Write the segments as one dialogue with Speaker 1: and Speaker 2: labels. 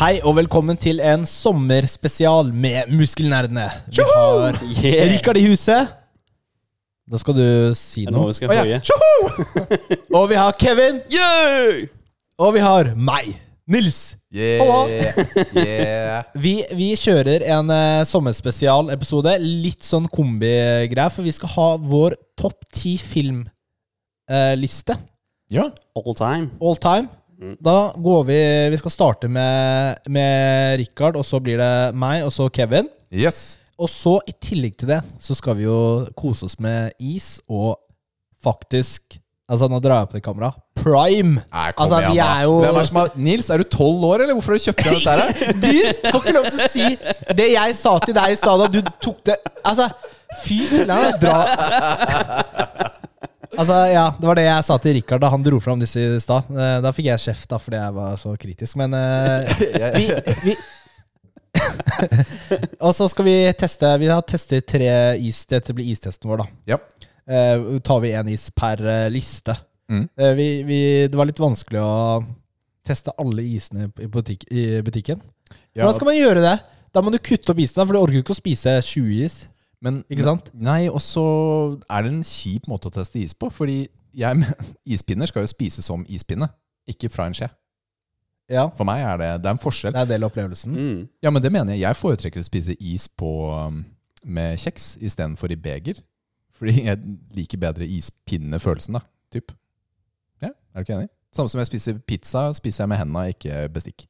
Speaker 1: Hei og velkommen til en sommerspesial med Muskelnerdene. Vi har
Speaker 2: Yeah.
Speaker 1: Rikard i huset. Da skal du si
Speaker 2: nå
Speaker 1: noe.
Speaker 2: vi skal
Speaker 1: Å, ja.
Speaker 2: hoie.
Speaker 1: Tjoho! og vi har Kevin.
Speaker 2: Yay!
Speaker 1: Og vi har meg. Nils.
Speaker 3: Yeah, yeah.
Speaker 1: Vi, vi kjører en eh, sommerspesialepisode. Litt sånn kombigreier, for vi skal ha vår topp ti eh, filmliste
Speaker 3: Ja.
Speaker 2: All time.
Speaker 1: all time.
Speaker 3: Mm.
Speaker 1: Da går vi Vi skal starte med, med Rikard, og så blir det meg, og så Kevin.
Speaker 3: Yes.
Speaker 1: Og så, i tillegg til det, så skal vi jo kose oss med is og faktisk Altså, nå drar jeg opp til kamera. Prime!
Speaker 3: Nei, kom
Speaker 1: altså,
Speaker 3: igjen,
Speaker 1: vi
Speaker 3: da.
Speaker 1: er jo
Speaker 3: Hvem er som har, Nils, er du tolv år, eller hvorfor har du kjøpt deg dette her?
Speaker 1: Du får ikke lov til å si det jeg sa til deg i stad, og du tok det Altså, fy filler'n, dra Altså, ja, Det var det jeg sa til Rikard da han dro fram disse i stad. Eh, Da fikk jeg kjeft da, fordi jeg var så kritisk, men eh, vi, vi Og så skal vi teste Vi har testet tre is. Dette blir istesten vår, da.
Speaker 3: Ja.
Speaker 1: Eh, tar vi en is per eh, liste.
Speaker 3: Mm.
Speaker 1: Eh, vi, vi, det var litt vanskelig å teste alle isene i, butikk, i butikken.
Speaker 3: Ja,
Speaker 1: Hvordan skal man gjøre det? Da må du kutte opp isen, da, for du orker jo ikke å spise 20 is.
Speaker 3: men,
Speaker 1: Ikke sant?
Speaker 3: Nei, og så er det en kjip måte å teste is på. Fordi jeg, men- ispinner skal jo spises som ispinne, ikke fra en skje.
Speaker 1: Ja,
Speaker 3: For meg er det, det er en forskjell.
Speaker 1: Det er en del av opplevelsen.
Speaker 2: Mm.
Speaker 3: Ja, men det mener jeg. Jeg foretrekker å spise is på, um, med kjeks istedenfor i beger. Fordi jeg liker bedre ispinnefølelsen, da. Typ. Ja, er du ikke enig? Samme som jeg spiser pizza, spiser jeg med henda, ikke bestikk.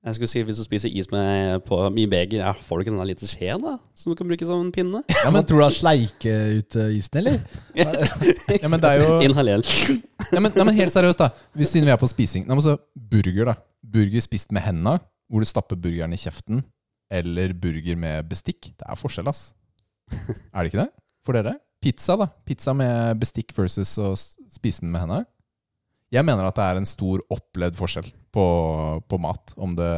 Speaker 2: Jeg skulle si Hvis du spiser is med på min beger, ja, får du ikke en sånn liten skje da? Som du kan bruke som en pinne?
Speaker 3: Ja, men,
Speaker 1: tror du han sleiker ut eh, isen, eller?
Speaker 3: ja, men det er jo
Speaker 2: Inhaler.
Speaker 3: Nei, men, nei, men helt seriøst, da. Hvis- Siden vi er på spising. Nei, men så Burger, da. Burger spist med henda, hvor du stapper burgeren i kjeften, eller burger med bestikk. Det er forskjell, ass. Er det ikke det? For dere? Pizza, da. Pizza med bestikk versus å s- spise den med henda. Jeg mener at det er en stor opplevd forskjell på, på mat, om det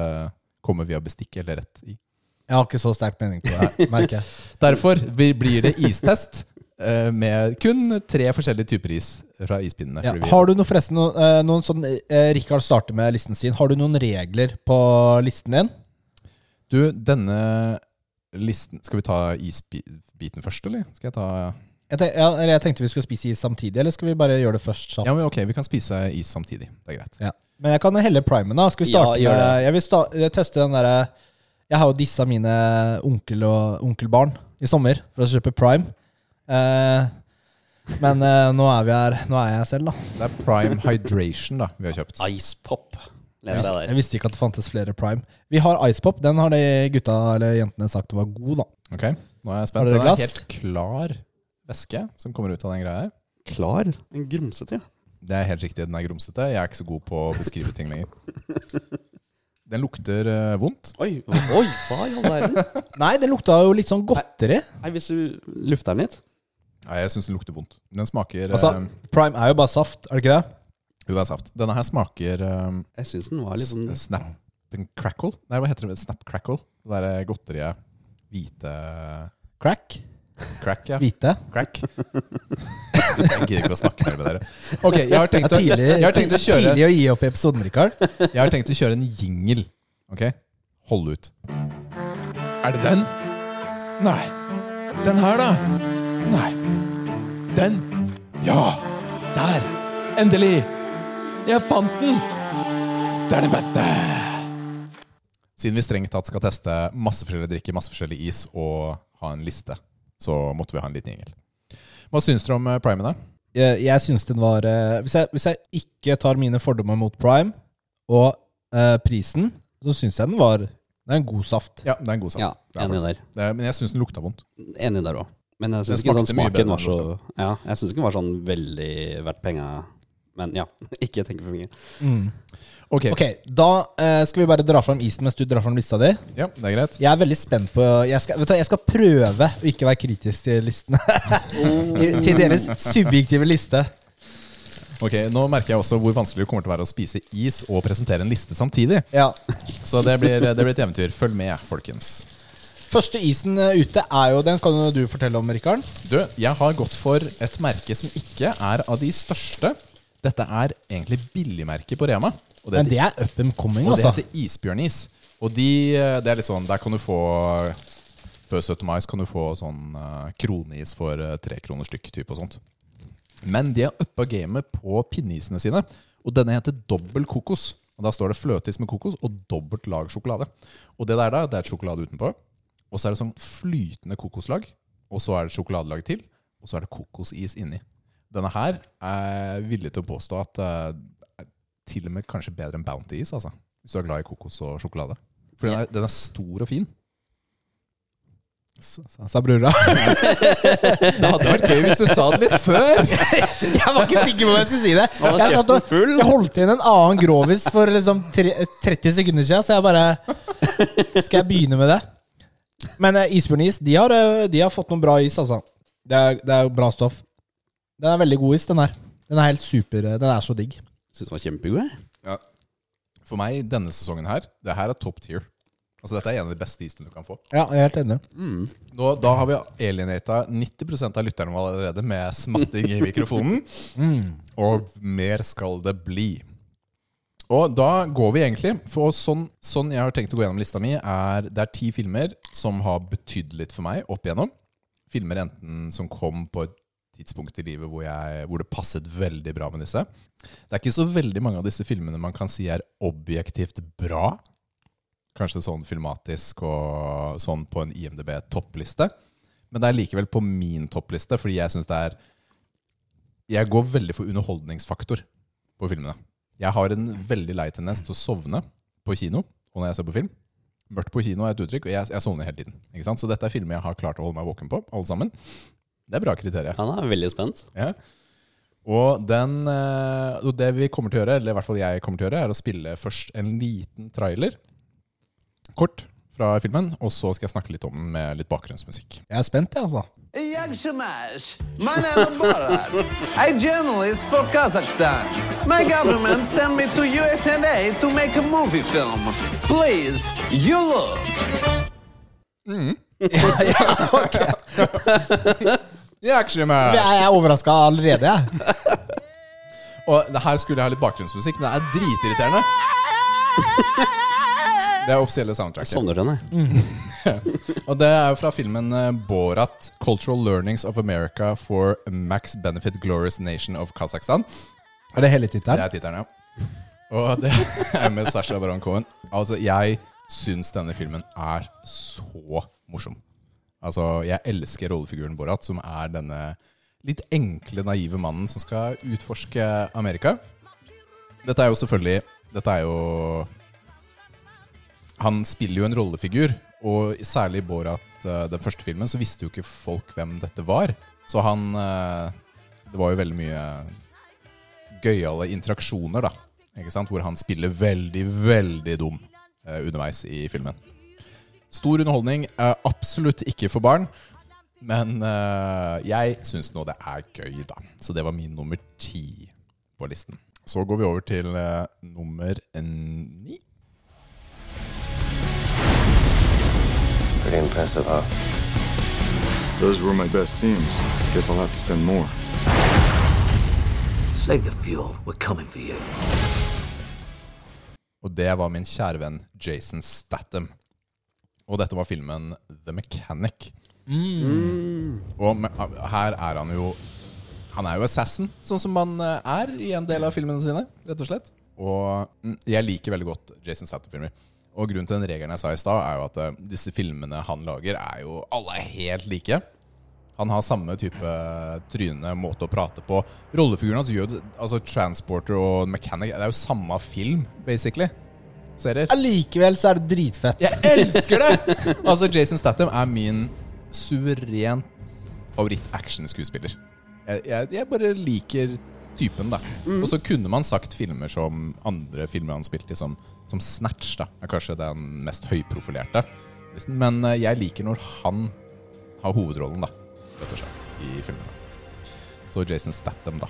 Speaker 3: kommer via bestikk eller rett i.
Speaker 1: Jeg har ikke så sterk mening på det, her, merker jeg.
Speaker 3: Derfor vi- blir det istest eh, med kun tre forskjellige typer is fra ispinnene.
Speaker 1: Ja.
Speaker 3: fordi vi-
Speaker 1: Har du noe, forresten noen, eh, noen sånn eh, Rikard starter med listen sin. Har du noen regler på listen din?
Speaker 3: Du, denne listen Skal vi ta isbiten først, eller? Skal jeg ta
Speaker 1: Jeg, tenk, ja, eller jeg tenkte vi skulle spise is samtidig, eller skal vi bare gjøre det først? sånn? sammen?
Speaker 3: Ja, men ok, vi kan spise is samtidig. Det er greit.
Speaker 1: Ja. Men jeg kan helle primen, da. Skal vi starte
Speaker 2: Ja, gjør det.
Speaker 1: med Jeg vil sta teste den derre Jeg har jo dissa mine onkel og onkelbarn i sommer for å kjøpe prime. Eh, men eh, nå er vi her. Nå er jeg selv, da.
Speaker 3: Det er Prime Hydration da, vi har kjøpt.
Speaker 2: Ice pop, leser jeg der.
Speaker 1: Jeg visste ikke at det fantes flere prime. Vi har Icepop. Den har de gutta eller jentene sagt var god, da.
Speaker 3: Ok, Nå er jeg
Speaker 1: Har
Speaker 3: spent.
Speaker 1: dere
Speaker 3: Det er en
Speaker 1: glass?
Speaker 3: helt klar væske som kommer ut av den greia her.
Speaker 2: Klar? En grumsete, ja.
Speaker 3: Det er helt riktig, den er grumsete. Jeg er ikke så god på å beskrive ting lenger. Den lukter eh, vondt.
Speaker 2: Oi, oi, hva i all verden?
Speaker 1: Nei, det lukta jo litt sånn godteri.
Speaker 2: Nei, Hvis du lufter den litt
Speaker 3: Nei, jeg syns den lukter vondt. Den smaker eh,
Speaker 1: Altså, prime er jo bare saft, er det ikke det?
Speaker 3: Jo, det er saft. Denne her smaker eh,
Speaker 2: Jeg syns den var litt sånn
Speaker 3: S- Snap and crackle? Nei, hva heter det? Snap crackle? Det derre godteriet. Hvite
Speaker 1: Crack.
Speaker 3: Crack, ja.
Speaker 1: Hvite.
Speaker 3: Crack. Jeg gidder ikke å snakke mer med dere. Ok, jeg har
Speaker 1: Det er
Speaker 3: tenkt å,
Speaker 1: tidlig,
Speaker 3: jeg har tenkt å, kjøre,
Speaker 1: tidlig å gi opp i episoden, Rikard.
Speaker 3: jeg har tenkt å kjøre en jingle. Ok? Hold ut. Er det den? Nei. Den her, da? Nei. Den? Ja! Der! Endelig! Jeg fant den! Det er det beste! Siden vi strengt tatt skal teste masse forskjellig drikke, masse forskjellig is og ha en liste, så måtte vi ha en liten jingle. Hva syns dere om eh, primene?
Speaker 1: jeg, jeg syns den var eh, hvis, jeg, hvis jeg ikke tar mine fordommer mot Prime og eh, prisen, så syns jeg den var Det er en god saft.
Speaker 3: Ja, det er en god saft.
Speaker 2: Ja,
Speaker 3: Det er
Speaker 2: enig
Speaker 3: faktisk-
Speaker 2: der.
Speaker 3: det er- Men jeg syns den lukta vondt.
Speaker 2: Enig der òg. Men jeg syns
Speaker 3: Den
Speaker 2: ikke den
Speaker 3: smakte mye
Speaker 2: smaken
Speaker 3: bedre
Speaker 2: var så
Speaker 3: enn
Speaker 2: Ja, jeg syns ikke den var sånn veldig verdt penga Men ja, ikke tenk for mye.
Speaker 3: Ok,
Speaker 1: Ok, da eh, skal vi bare dra fram isen mens du drar fram lista di.
Speaker 3: ja, det er greit.
Speaker 1: Jeg er veldig spent på Jeg skal, vet du, hva, jeg skal prøve å ikke være kritisk til listene. I- til deres subjektive liste.
Speaker 3: Ok, Nå merker jeg også hvor vanskelig det kommer til å være å spise is og presentere en liste samtidig.
Speaker 1: Ja.
Speaker 3: Så det blir, det blir et eventyr. Følg med, folkens.
Speaker 1: Første isen eh, ute er jo den. Kan jo du fortelle om, Rikard?
Speaker 3: Du, jeg har gått for et merke som ikke er av de største. Dette er egentlig billigmerket på Rema. Og det
Speaker 1: Men
Speaker 3: heter,
Speaker 1: det er up and coming,
Speaker 3: og det
Speaker 1: altså.
Speaker 3: heter isbjørnis. Og de, det er litt sånn, der kan du få Før 17. mai så kan du få sånn eh, kroneis for eh, tre kroner stykk. Type og sånt. Men de har uppa gamet på pinneisene sine. Og denne heter dobbel kokos. Og Da står det fløteis med kokos og dobbelt lag sjokolade. Og det der da, det er sjokolade utenpå. Og så er det sånn flytende kokoslag. Og så er det sjokoladelag til. Og så er det kokosis inni. Denne her er jeg villig til å påstå at eh, er til og med kanskje bedre enn Bounty-is. altså. Hvis du er glad i kokos og sjokolade. For den er, den er stor og fin. Sa brura. Det hadde vært gøy hvis du sa det litt før.
Speaker 1: Jeg var ikke sikker på om jeg skulle si det.
Speaker 2: Å,
Speaker 1: Jeg, satt
Speaker 2: kjeften
Speaker 1: og,
Speaker 2: full.
Speaker 1: jeg holdt igjen en annen grovis for liksom tre, 30 sekunder siden, så jeg bare Skal jeg begynne med det? Men eh, isbjørnis, de har, eh, de har fått noen bra is, altså. Det er, det er bra stoff. Den er veldig god is, den her. Den er helt super. eh, Den er så digg.
Speaker 2: Syns den var kjempegod, jeg.
Speaker 3: Ja. For meg, denne sesongen her, det her er top tier. Altså Dette er en av de beste isene du kan få.
Speaker 1: Ja, jeg er helt enig.
Speaker 3: Nå, da har vi alienata 90 av lytterne våre allerede med smatting i mikrofonen. Og mer skal det bli. Og da går vi egentlig For sånn, sånn jeg har tenkt å gå gjennom lista mi, er det er ti filmer som har betydd litt for meg opp igjennom. Filmer enten som kom på et tidspunkt i livet hvor, jeg, hvor det passet veldig bra med disse. Det er ikke så veldig mange av disse filmene man kan si er objektivt bra. Kanskje sånn filmatisk og sånn på en IMDb-toppliste. Men det er likevel på min toppliste, fordi jeg syns det er Jeg går veldig for underholdningsfaktor på filmene. Jeg har en veldig lei tendens til å sovne på kino og når jeg ser på film. Mørkt på kino er et uttrykk, og jeg, jeg sovner hele tiden. Ikke sant? Så dette er filmer jeg har klart å holde meg våken på, alle sammen. Det er bra kriterier.
Speaker 2: Han er veldig spent.
Speaker 3: Ja. Og, den, eh, og det vi kommer til å gjøre, eller i hvert fall jeg kommer til å gjøre, er å spille først en liten trailer, kort, fra filmen, og så skal jeg snakke litt om den med litt bakgrunnsmusikk.
Speaker 1: Jeg er spent, jeg, altså.
Speaker 4: Jak się masz? My name is Borat. I journalist for Kazakhstan. My government sent me to USA to make a movie film. Please, you look.
Speaker 3: Ja, actually, man.
Speaker 1: Jeg jeg er overraska allerede, jeg.
Speaker 3: Og det her skulle jeg ha litt bakgrunnsmusikk, men det er dritirriterende. Det er offisielle soundtracket.
Speaker 2: Savner den, jeg.
Speaker 3: Og det er jo fra filmen eh, Borat Cultural Learnings of America for Max Benefit Glorious Nation of Kazakhstan.
Speaker 1: Er det hele
Speaker 3: Det
Speaker 1: tittelen?
Speaker 3: er tittelen, ja. Og det er med Sasha Baron Cohen. Altså, jeg syns denne filmen er så morsom. Altså, jeg elsker rollefiguren Borat, som er denne litt enkle, naive mannen som skal utforske Amerika. Dette er jo selvfølgelig Dette er jo Han spiller jo en rollefigur, og særlig i Borat, eh, den første filmen, så visste jo ikke folk hvem dette var. Så han eh, Det var jo veldig mye gøyale interaksjoner, da. Ikke sant? Hvor han spiller veldig, veldig dum eh, underveis i filmen. Stor underholdning. eh, absolutt ikke for barn. Men eh, jeg syns nå det er gøy, da. Så det var min nummer ti på listen. Så går vi over til eh, nummer ni.
Speaker 5: Pretty impressive, huh?
Speaker 6: Those were my best teams. Guess I'll have to send more.
Speaker 7: Save the fuel. We're coming for you.
Speaker 3: Og det var min kjære venn Jason Statham. Og dette var filmen The Mechanic. Og me- her er han jo Han er jo assassin, sånn som man eh, er i en del av filmene sine, rett og slett. Og mm, jeg liker veldig godt Jason Statham-filmer. Og grunnen til den regelen jeg sa i stad, er jo at eh, disse filmene han lager, er jo alle er helt like. Han har samme type eh, tryne, måte å prate på. Rollefiguren hans gjør det Altså Transporter og Mechanic Det er jo samme film, basically. Serier.
Speaker 1: Allikevel så er det dritfett.
Speaker 3: Jeg elsker det! Altså, Jason Statham er min suverent favoritt-actionskuespiller. Jeg, jeg, jeg bare liker typen, da. Og så kunne man sagt filmer som andre filmer han spilte i, som, som Snatch, da. Er kanskje den mest høyprofilerte. listen. Men eh, jeg liker når han har hovedrollen, da, rett og slett, i filmene. Så Jason Statham, da.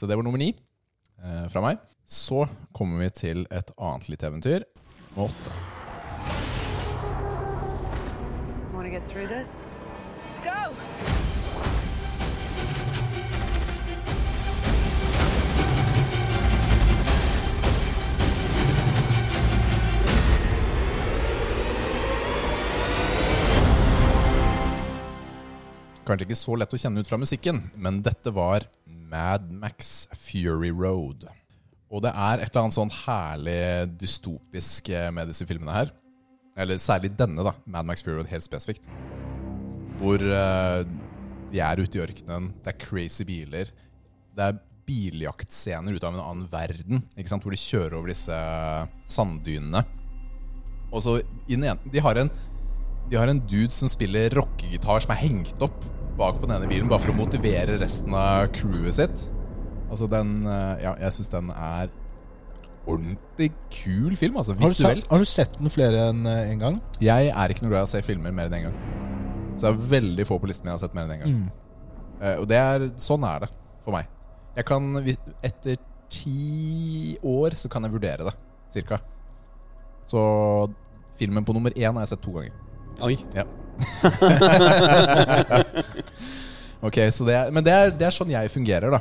Speaker 3: Så det var nummer ni eh, fra meg. Så kommer vi til et annet litt eventyr. Nummer åtte.
Speaker 8: Want to get through this?
Speaker 3: Kanskje ikke så lett å kjenne ut fra musikken, men dette var Mad Max Fury Road. Og det er et eller annet sånn herlig dystopisk eh, med disse filmene her. Eller særlig denne, da. Mad Max Fury Road helt spesifikt. Hvor eh, de er ute i ørkenen, det er crazy biler. Det er biljaktscener ut av en annen verden, ikke sant? hvor de kjører over disse eh, sanddynene. Og så i den ene, De har en de har en dude som spiller rockegitar som er hengt opp bak på den ene bilen, bare for å motivere resten av crewet sitt. Altså den eh, Ja, jeg syns den er ordentlig kul film, altså.
Speaker 1: Har du,
Speaker 3: Visuelt.
Speaker 1: sett, har du sett den flere enn eh, en gang?
Speaker 3: Jeg er ikke noe glad i å se filmer mer enn én gang. Så det er veldig få på listen jeg har sett mer enn én gang. Eh, og det er, sånn er det for meg. Jeg kan, vi- Etter ti år så kan jeg vurdere det, cirka. Så filmen på nummer én har jeg sett to ganger.
Speaker 2: Oi.
Speaker 3: Ja. ok, så det er, Men det er, det er sånn jeg fungerer, da.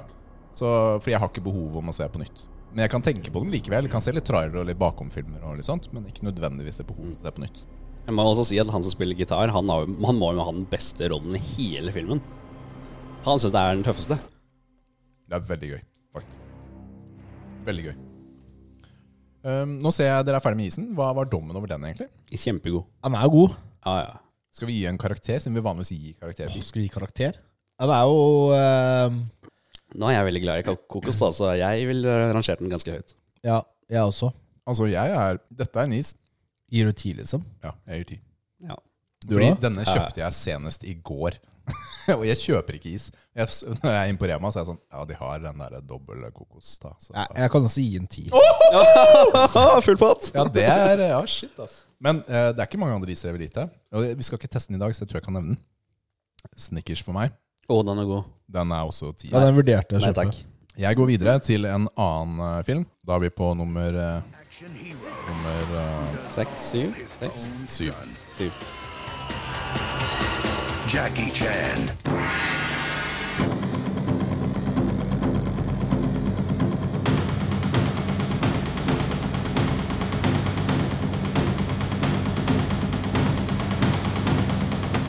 Speaker 3: Så, fordi jeg har ikke behov om å se på nytt. Men jeg kan tenke på dem likevel. Jeg kan se litt trailere og litt bakomfilmer, og litt sånt, men ikke nødvendigvis se behov for å se på nytt.
Speaker 2: Jeg må også si at han som spiller gitar, han, har, jo- han må jo ha den beste rollen i hele filmen. Han syns det er den tøffeste.
Speaker 3: Det er veldig gøy, faktisk. Veldig gøy. Um, nå ser jeg dere er ferdig med isen. Hva var dommen over den, egentlig?
Speaker 2: Kjempegod.
Speaker 1: Han er jo god.
Speaker 2: Ja, ja.
Speaker 3: Skal vi gi en karakter, siden vi vanligvis gir karakterer?
Speaker 1: Skal vi gi karakter? Ja, det er jo eh,
Speaker 2: Nå er jeg veldig glad i kak- kokos, da, så jeg vil eh, rangert den ganske høyt.
Speaker 1: Ja, jeg også.
Speaker 3: Altså, jeg er Dette er en is.
Speaker 1: Gir du ti, liksom?
Speaker 3: Ja, jeg gir ti.
Speaker 2: Ja.
Speaker 3: Fordi
Speaker 1: da?
Speaker 3: denne kjøpte jeg senest i går. og jeg kjøper ikke is. Jeg, s- når jeg er inne på Rema, så er jeg sånn Ja, de har den derre dobbel kokos, da. Så,
Speaker 1: Jeg, jeg kan også gi en ti.
Speaker 2: full pott!
Speaker 3: Ja, det er Ja, shit, ass. Men eh, det er ikke mange andre iser jeg vil gi til. Og vi skal ikke teste den i dag, så jeg tror jeg kan nevne den. Snickers for meg.
Speaker 2: Å, den er god.
Speaker 3: Den er også ti.
Speaker 1: Ja, den vurderte jeg å
Speaker 2: Nei
Speaker 1: kjøpe.
Speaker 2: takk.
Speaker 3: Jeg går videre til en annen eh, film. Da er vi på nummer eh, Nummer eh,
Speaker 2: Seks, syv, seks,
Speaker 3: syv.
Speaker 2: syv.
Speaker 9: Jackie Chan.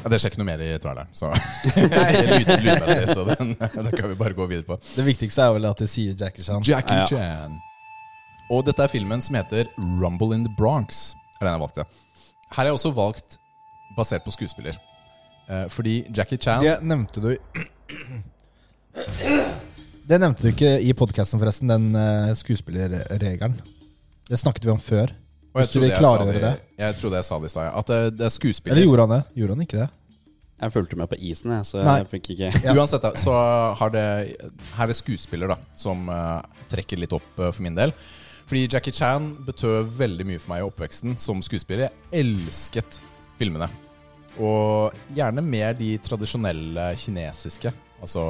Speaker 3: Ja, det skjer ikke noe mer i traileren, så Lyd- Lydmessig, så den, den kan vi bare gå videre på.
Speaker 1: Det viktigste er vel at de sier Jackie Chan.
Speaker 3: Jackie
Speaker 2: Ja.
Speaker 3: Chan. Og dette er filmen som heter Rumble in the Bronx. Er den jeg valgte. Her har jeg også valgt basert på skuespiller. Eh, fordi Jackie Chan
Speaker 1: Det nevnte du Det nevnte du ikke i podkasten, forresten, den eh, skuespillerregelen. Det snakket vi om før.
Speaker 3: Og jeg
Speaker 1: Hvis du vil
Speaker 3: trodde jeg sa
Speaker 1: klargjøre det.
Speaker 3: Jeg trodde jeg sa det i stad. ja. At det, det er skuespiller.
Speaker 1: Eller gjorde han det? Gjorde han ikke det?
Speaker 2: Jeg fulgte med på isen, jeg, så
Speaker 1: Nei.
Speaker 2: jeg fikk ikke
Speaker 3: Uansett, da, så har det Her er skuespiller da som eh, trekker litt opp eh, for min del. Fordi Jackie Chan betød veldig mye for meg i oppveksten som skuespiller. Jeg elsket filmene. Og gjerne mer de tradisjonelle kinesiske. Altså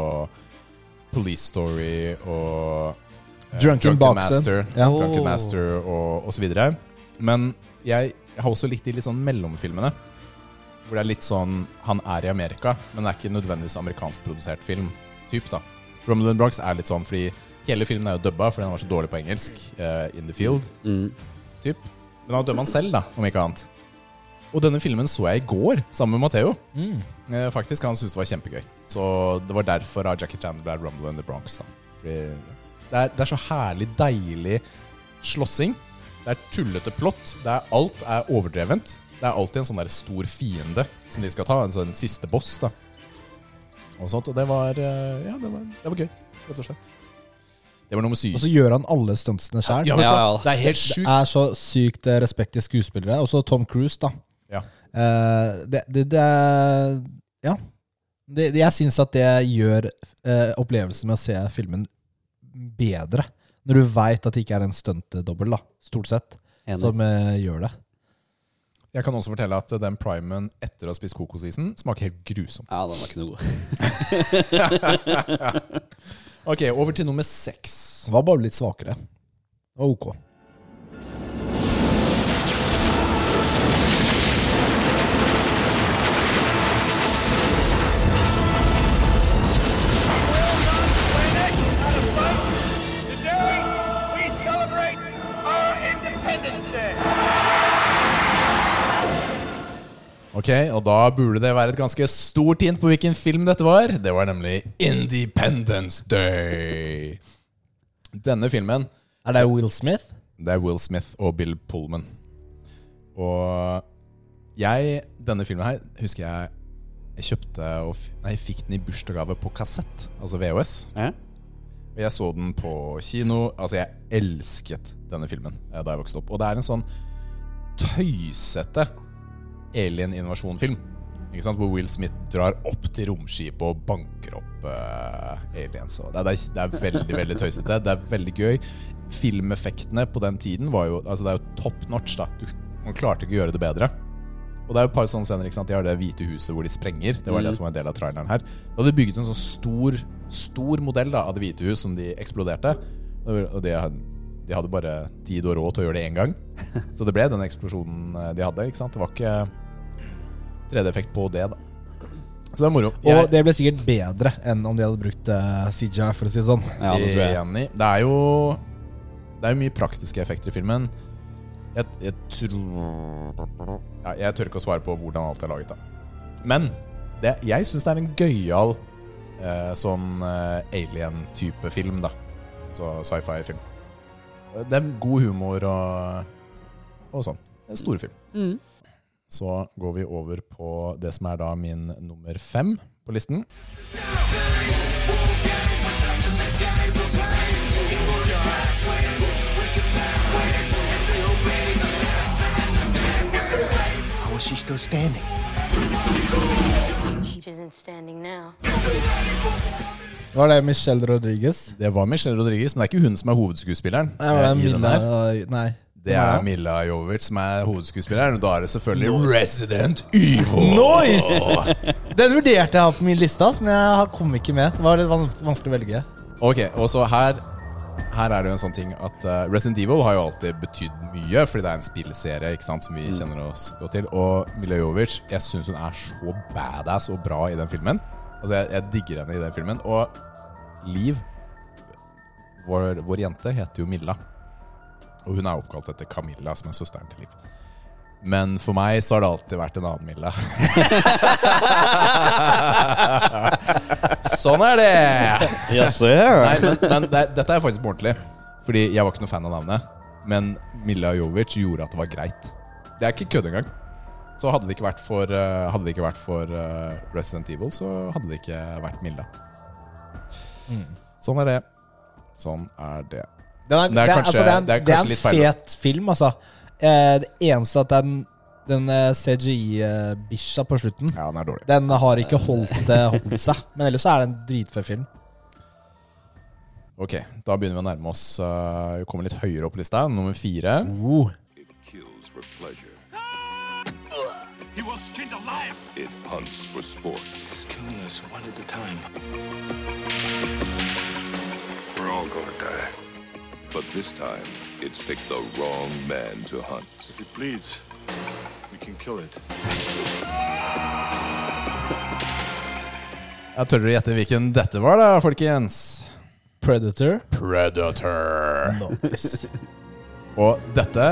Speaker 3: Police Story og eh,
Speaker 1: Drunken Boxer.
Speaker 3: Master,
Speaker 1: Ja.
Speaker 3: Drunken Master og, og så videre. Men jeg har også likt de litt sånn mellomfilmene. Hvor det er litt sånn Han er i Amerika, men det er ikke nødvendigvis amerikanskprodusert film. Typ da Rumble in the Bronx er litt sånn fordi hele filmen er jo dubba fordi den var så dårlig på engelsk. eh, in the field. Typ. Men han dubba han selv, da, om ikke annet. Og denne filmen så jeg i går sammen med Matheo. Eh, faktisk, Han syntes det var kjempegøy. Så det var derfor av Jackie Chan ble Rumble in the Bronx. da fordi det er, det er så herlig, deilig slåssing. Det er tullete plott. Det er, alt er overdrevent. Det er alltid en sånn der stor fiende som de skal ta. En sånn siste boss, da. Og sånt, og det var eh, Ja, det var, det var gøy, rett og slett. Det var nummer syv.
Speaker 1: Og så gjør han alle stuntsene sjøl.
Speaker 3: Ja, vet du hva?
Speaker 2: Ja, ja.
Speaker 3: Det er helt sjukt.
Speaker 1: Er så sykt eh, respekt til skuespillere. Også Tom Cruise, da.
Speaker 3: Ja.
Speaker 1: Eh, det, det, det er- Ja. Det, det, jeg syns at det gjør eh, opplevelsen med å se filmen bedre. Når du veit at det ikke er en stuntdobbel, da, stort sett,
Speaker 2: Enig.
Speaker 1: som eh, gjør det.
Speaker 3: Jeg kan også fortelle at den primen etter å ha spist kokosisen smaker helt grusomt.
Speaker 2: Ja, den var ikke noe god.
Speaker 3: Ok, over til nummer seks.
Speaker 1: Det var bare litt svakere. Det var ok.
Speaker 9: Today, we celebrate our Independence Day.
Speaker 3: Ok, og da burde det være et ganske stort hint på hvilken film dette var. Det var nemlig Independence Day. Denne filmen,
Speaker 1: Er det Will Smith?
Speaker 3: det er Will Smith og Bill Pullman. Og jeg, denne filmen her, husker jeg jeg kjøpte og f nei, jeg fikk den i bursdagsgave på kassett, altså VHS.
Speaker 2: Ja.
Speaker 3: Og Jeg så den på kino. Altså, jeg elsket denne filmen eh, da jeg vokste opp. Og det er en sånn tøysete alien-invasjon-film. Ikke sant? Hvor Will Smith drar opp til romskipet og banker opp eh, aliens. Og det, er- det, er, det er veldig veldig tøysete. Det er veldig gøy. Filmeffektene på den tiden var jo Altså, det er jo top notch. da du, Man klarte ikke å gjøre det bedre. Og det er jo et par sånne scener, ikke sant? De har det hvite huset hvor de sprenger. Det var det som var en del av traileren her. Da hadde de bygget en sånn stor, stor modell da, av det hvite hus som de eksploderte. Og de, had- de hadde bare tid og råd til å gjøre det én gang. Så det ble den eksplosjonen eh, de hadde, ikke sant? Det var ikke 3D-effekt på det, da. Så det er moro.
Speaker 1: Og det ble sikkert bedre enn om de hadde brukt uh, CJI, for å si det sånn.
Speaker 2: ja, det tror jeg.
Speaker 3: Enig. Det er jo Det er jo mye praktiske effekter i filmen. Jeg, jeg tror ja, Jeg tør ikke å svare på hvordan alt er laget, da. Men det, jeg syns det er en gøyal eh, sånn eh, alien-type film, da. Så sci-fi-film. Det er god humor og, og sånn. Det er en storfilm. Så går vi over på det som er da min nummer fem på listen.
Speaker 7: How is she still standing?
Speaker 8: She isn't standing now.
Speaker 1: Det var det Michelle Rodriguez.
Speaker 3: Det var Michelle Rodriguez, men det er ikke hun som er hovedskuespilleren.
Speaker 1: Nei, var det
Speaker 3: eh, i den
Speaker 1: Milla,
Speaker 3: her.
Speaker 1: nei.
Speaker 3: Det er Milla Jovic som er hovedskuespilleren, og da er det selvfølgelig Resident Evil.
Speaker 1: Nice! Den vurderte jeg å ha på min liste, ass, men jeg har- kom ikke med. Det var litt vans- vanskelig å velge.
Speaker 3: Ok, og så her Her er det jo en sånn ting at eh, Resident Evil har jo alltid betydd mye, fordi det er en spillserie ikke sant, som vi kjenner oss godt til. Og Milla Jovic, jeg syns hun er så badass og bra i den filmen. Altså, jeg, jeg digger henne i den filmen. Og Liv, vår, vår jente, heter jo Milla. Og hun er oppkalt etter Camilla, som er søsteren til Liv. Men for meg så har det alltid vært en annen Milla. sånn er det!
Speaker 2: Yes, sir.
Speaker 3: Nei, men, men det, dette er faktisk på ordentlig. Fordi jeg var ikke noe fan av navnet. Men Milla Jovic gjorde at det var greit. Det er ikke kødd engang. Så hadde det ikke vært for, eh, hadde det ikke vært for eh, Resident Evil, så hadde det ikke vært Milla. Sånn er det. Sånn er det.
Speaker 1: Den er,
Speaker 3: Det er kanskje-
Speaker 1: altså, det er, en-
Speaker 3: det er
Speaker 1: det er
Speaker 3: kanskje
Speaker 1: en
Speaker 3: litt feil, da.
Speaker 1: fet film, altså. Eh, det eneste at den, den eh, CGI-bisha på slutten
Speaker 3: Ja, den er dårlig.
Speaker 1: Den har ikke holdt, eh, holdt seg. Men ellers så er det en dritfet film.
Speaker 3: Ok, da begynner vi å nærme oss. eh, vi kommer litt høyere opp på lista. Nummer fire.
Speaker 10: It kills for pleasure.
Speaker 9: He was skinned alive.
Speaker 10: It hunts for sport.
Speaker 7: He's killing us one at a time.
Speaker 5: We're all gonna die.
Speaker 10: But this time, it's picked the wrong man to hunt.
Speaker 6: If it bleeds, we can kill it.
Speaker 3: Jeg tør dere gjette hvilken dette var, da, folkens?
Speaker 1: Predator.
Speaker 3: Predator. Og dette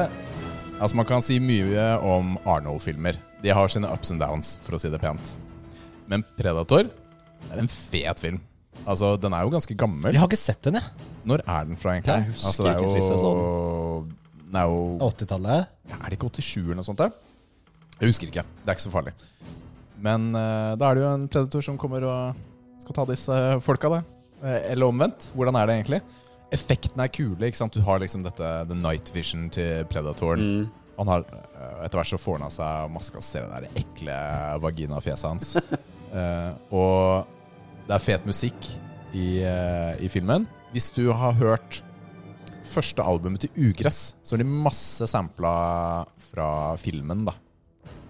Speaker 3: Altså, man kan si mye om Arnold-filmer. De har sine ups and downs, for å si det pent. Men Predator er en fet film. Altså, den er jo ganske gammel.
Speaker 1: Jeg har ikke sett den, jeg.
Speaker 3: Når er den fra, egentlig?
Speaker 2: Jeg husker
Speaker 3: Altså, det er
Speaker 2: ikke sist jeg så
Speaker 3: jo Den er jo
Speaker 1: 80-tallet.
Speaker 3: er det ikke 87 eller noe sånt? Da? Jeg husker ikke. Det er ikke så farlig. Men eh, da er det jo en predator som kommer og skal ta disse folka, da. Eh, Eller omvendt. Hvordan er det egentlig? Effektene er kule. ikke sant? Du har liksom dette The Night Vision til predatoren. Han har, eh, Etter hvert så får han av seg maska og ser det der ekle vaginafjeset hans. Eh, og det er fet musikk i, eh, i filmen. Hvis du har hørt første albumet til Ugress, så er det masse sampla fra filmen, da.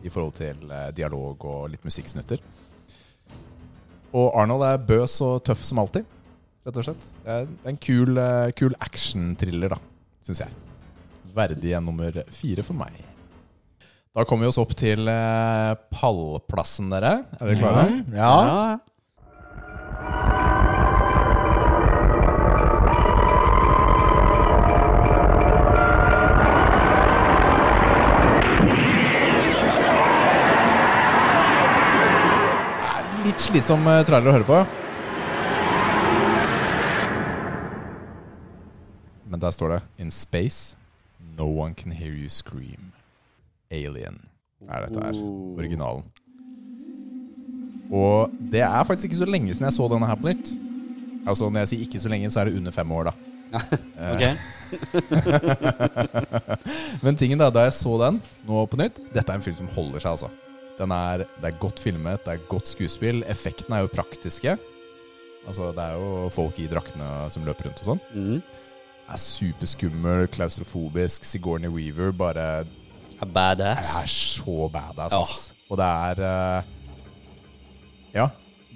Speaker 3: I forhold til eh, dialog og litt musikksnutter. Og Arnold er bøs og tøff som alltid, rett og slett. Det er en kul, eh, kul action-thriller, da, syns jeg. Verdig en nummer fire for meg. Da kommer vi oss opp til eh, pallplassen, dere. Er dere klare? Ja. Litt slitsom eh, trailer å høre på. Men der står det In space, no one can hear you scream. Alien er dette her. Originalen. Og det er faktisk ikke så lenge siden jeg så denne her på nytt. Altså Når jeg sier ikke så lenge, så er det under fem år, da.
Speaker 2: Ok.
Speaker 3: Men tingen da, da jeg så den nå på nytt Dette er en film som holder seg, altså. Den er, det er godt filmet, det er godt skuespill. Effektene er jo praktiske. Altså, det er jo folk i draktene som løper rundt og sånn.
Speaker 2: Mhm.
Speaker 3: Det er superskummel, klaustrofobisk. Sigourney Weaver bare
Speaker 2: A Badass.
Speaker 3: er så badass, ass. Og det er eh, Ja.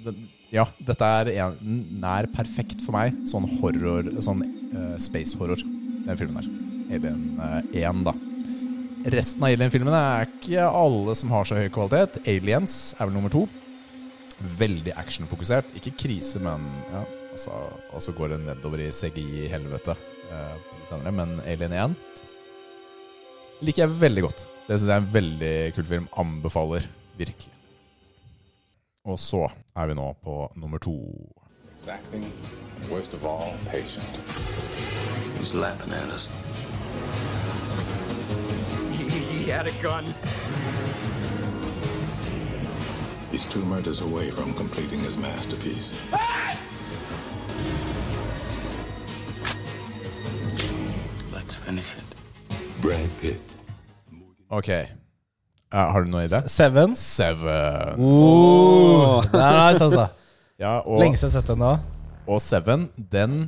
Speaker 3: Den, ja, dette er en, nær perfekt for meg. Sånn horror Sånn eh, space horror, den filmen der. Alien eh, 1, da. Resten av Alien-filmene er ikke alle som har så høy kvalitet. Aliens er vel nummer to. Veldig actionfokusert. Ikke krise, men ja, altså, Og så går det nedover i CGI-helvete eh, senere. Men Alien 1 liker jeg veldig godt. Det synes jeg er en veldig kul film. Anbefaler virkelig. Og så er vi nå på nummer to.
Speaker 5: Exacting, and worst of all, patient. He's laughing at us.
Speaker 9: He had a gun.
Speaker 5: He's two murders away from completing his masterpiece.
Speaker 7: Let's finish it.
Speaker 5: Brad Pitt.
Speaker 3: Ok. Eh, har du noe i det?
Speaker 1: Sevens.
Speaker 3: Seven.
Speaker 1: Oh. Det er nice, altså.
Speaker 3: Ja, og,
Speaker 1: Lenge siden jeg har sett den da.
Speaker 3: og Seven, den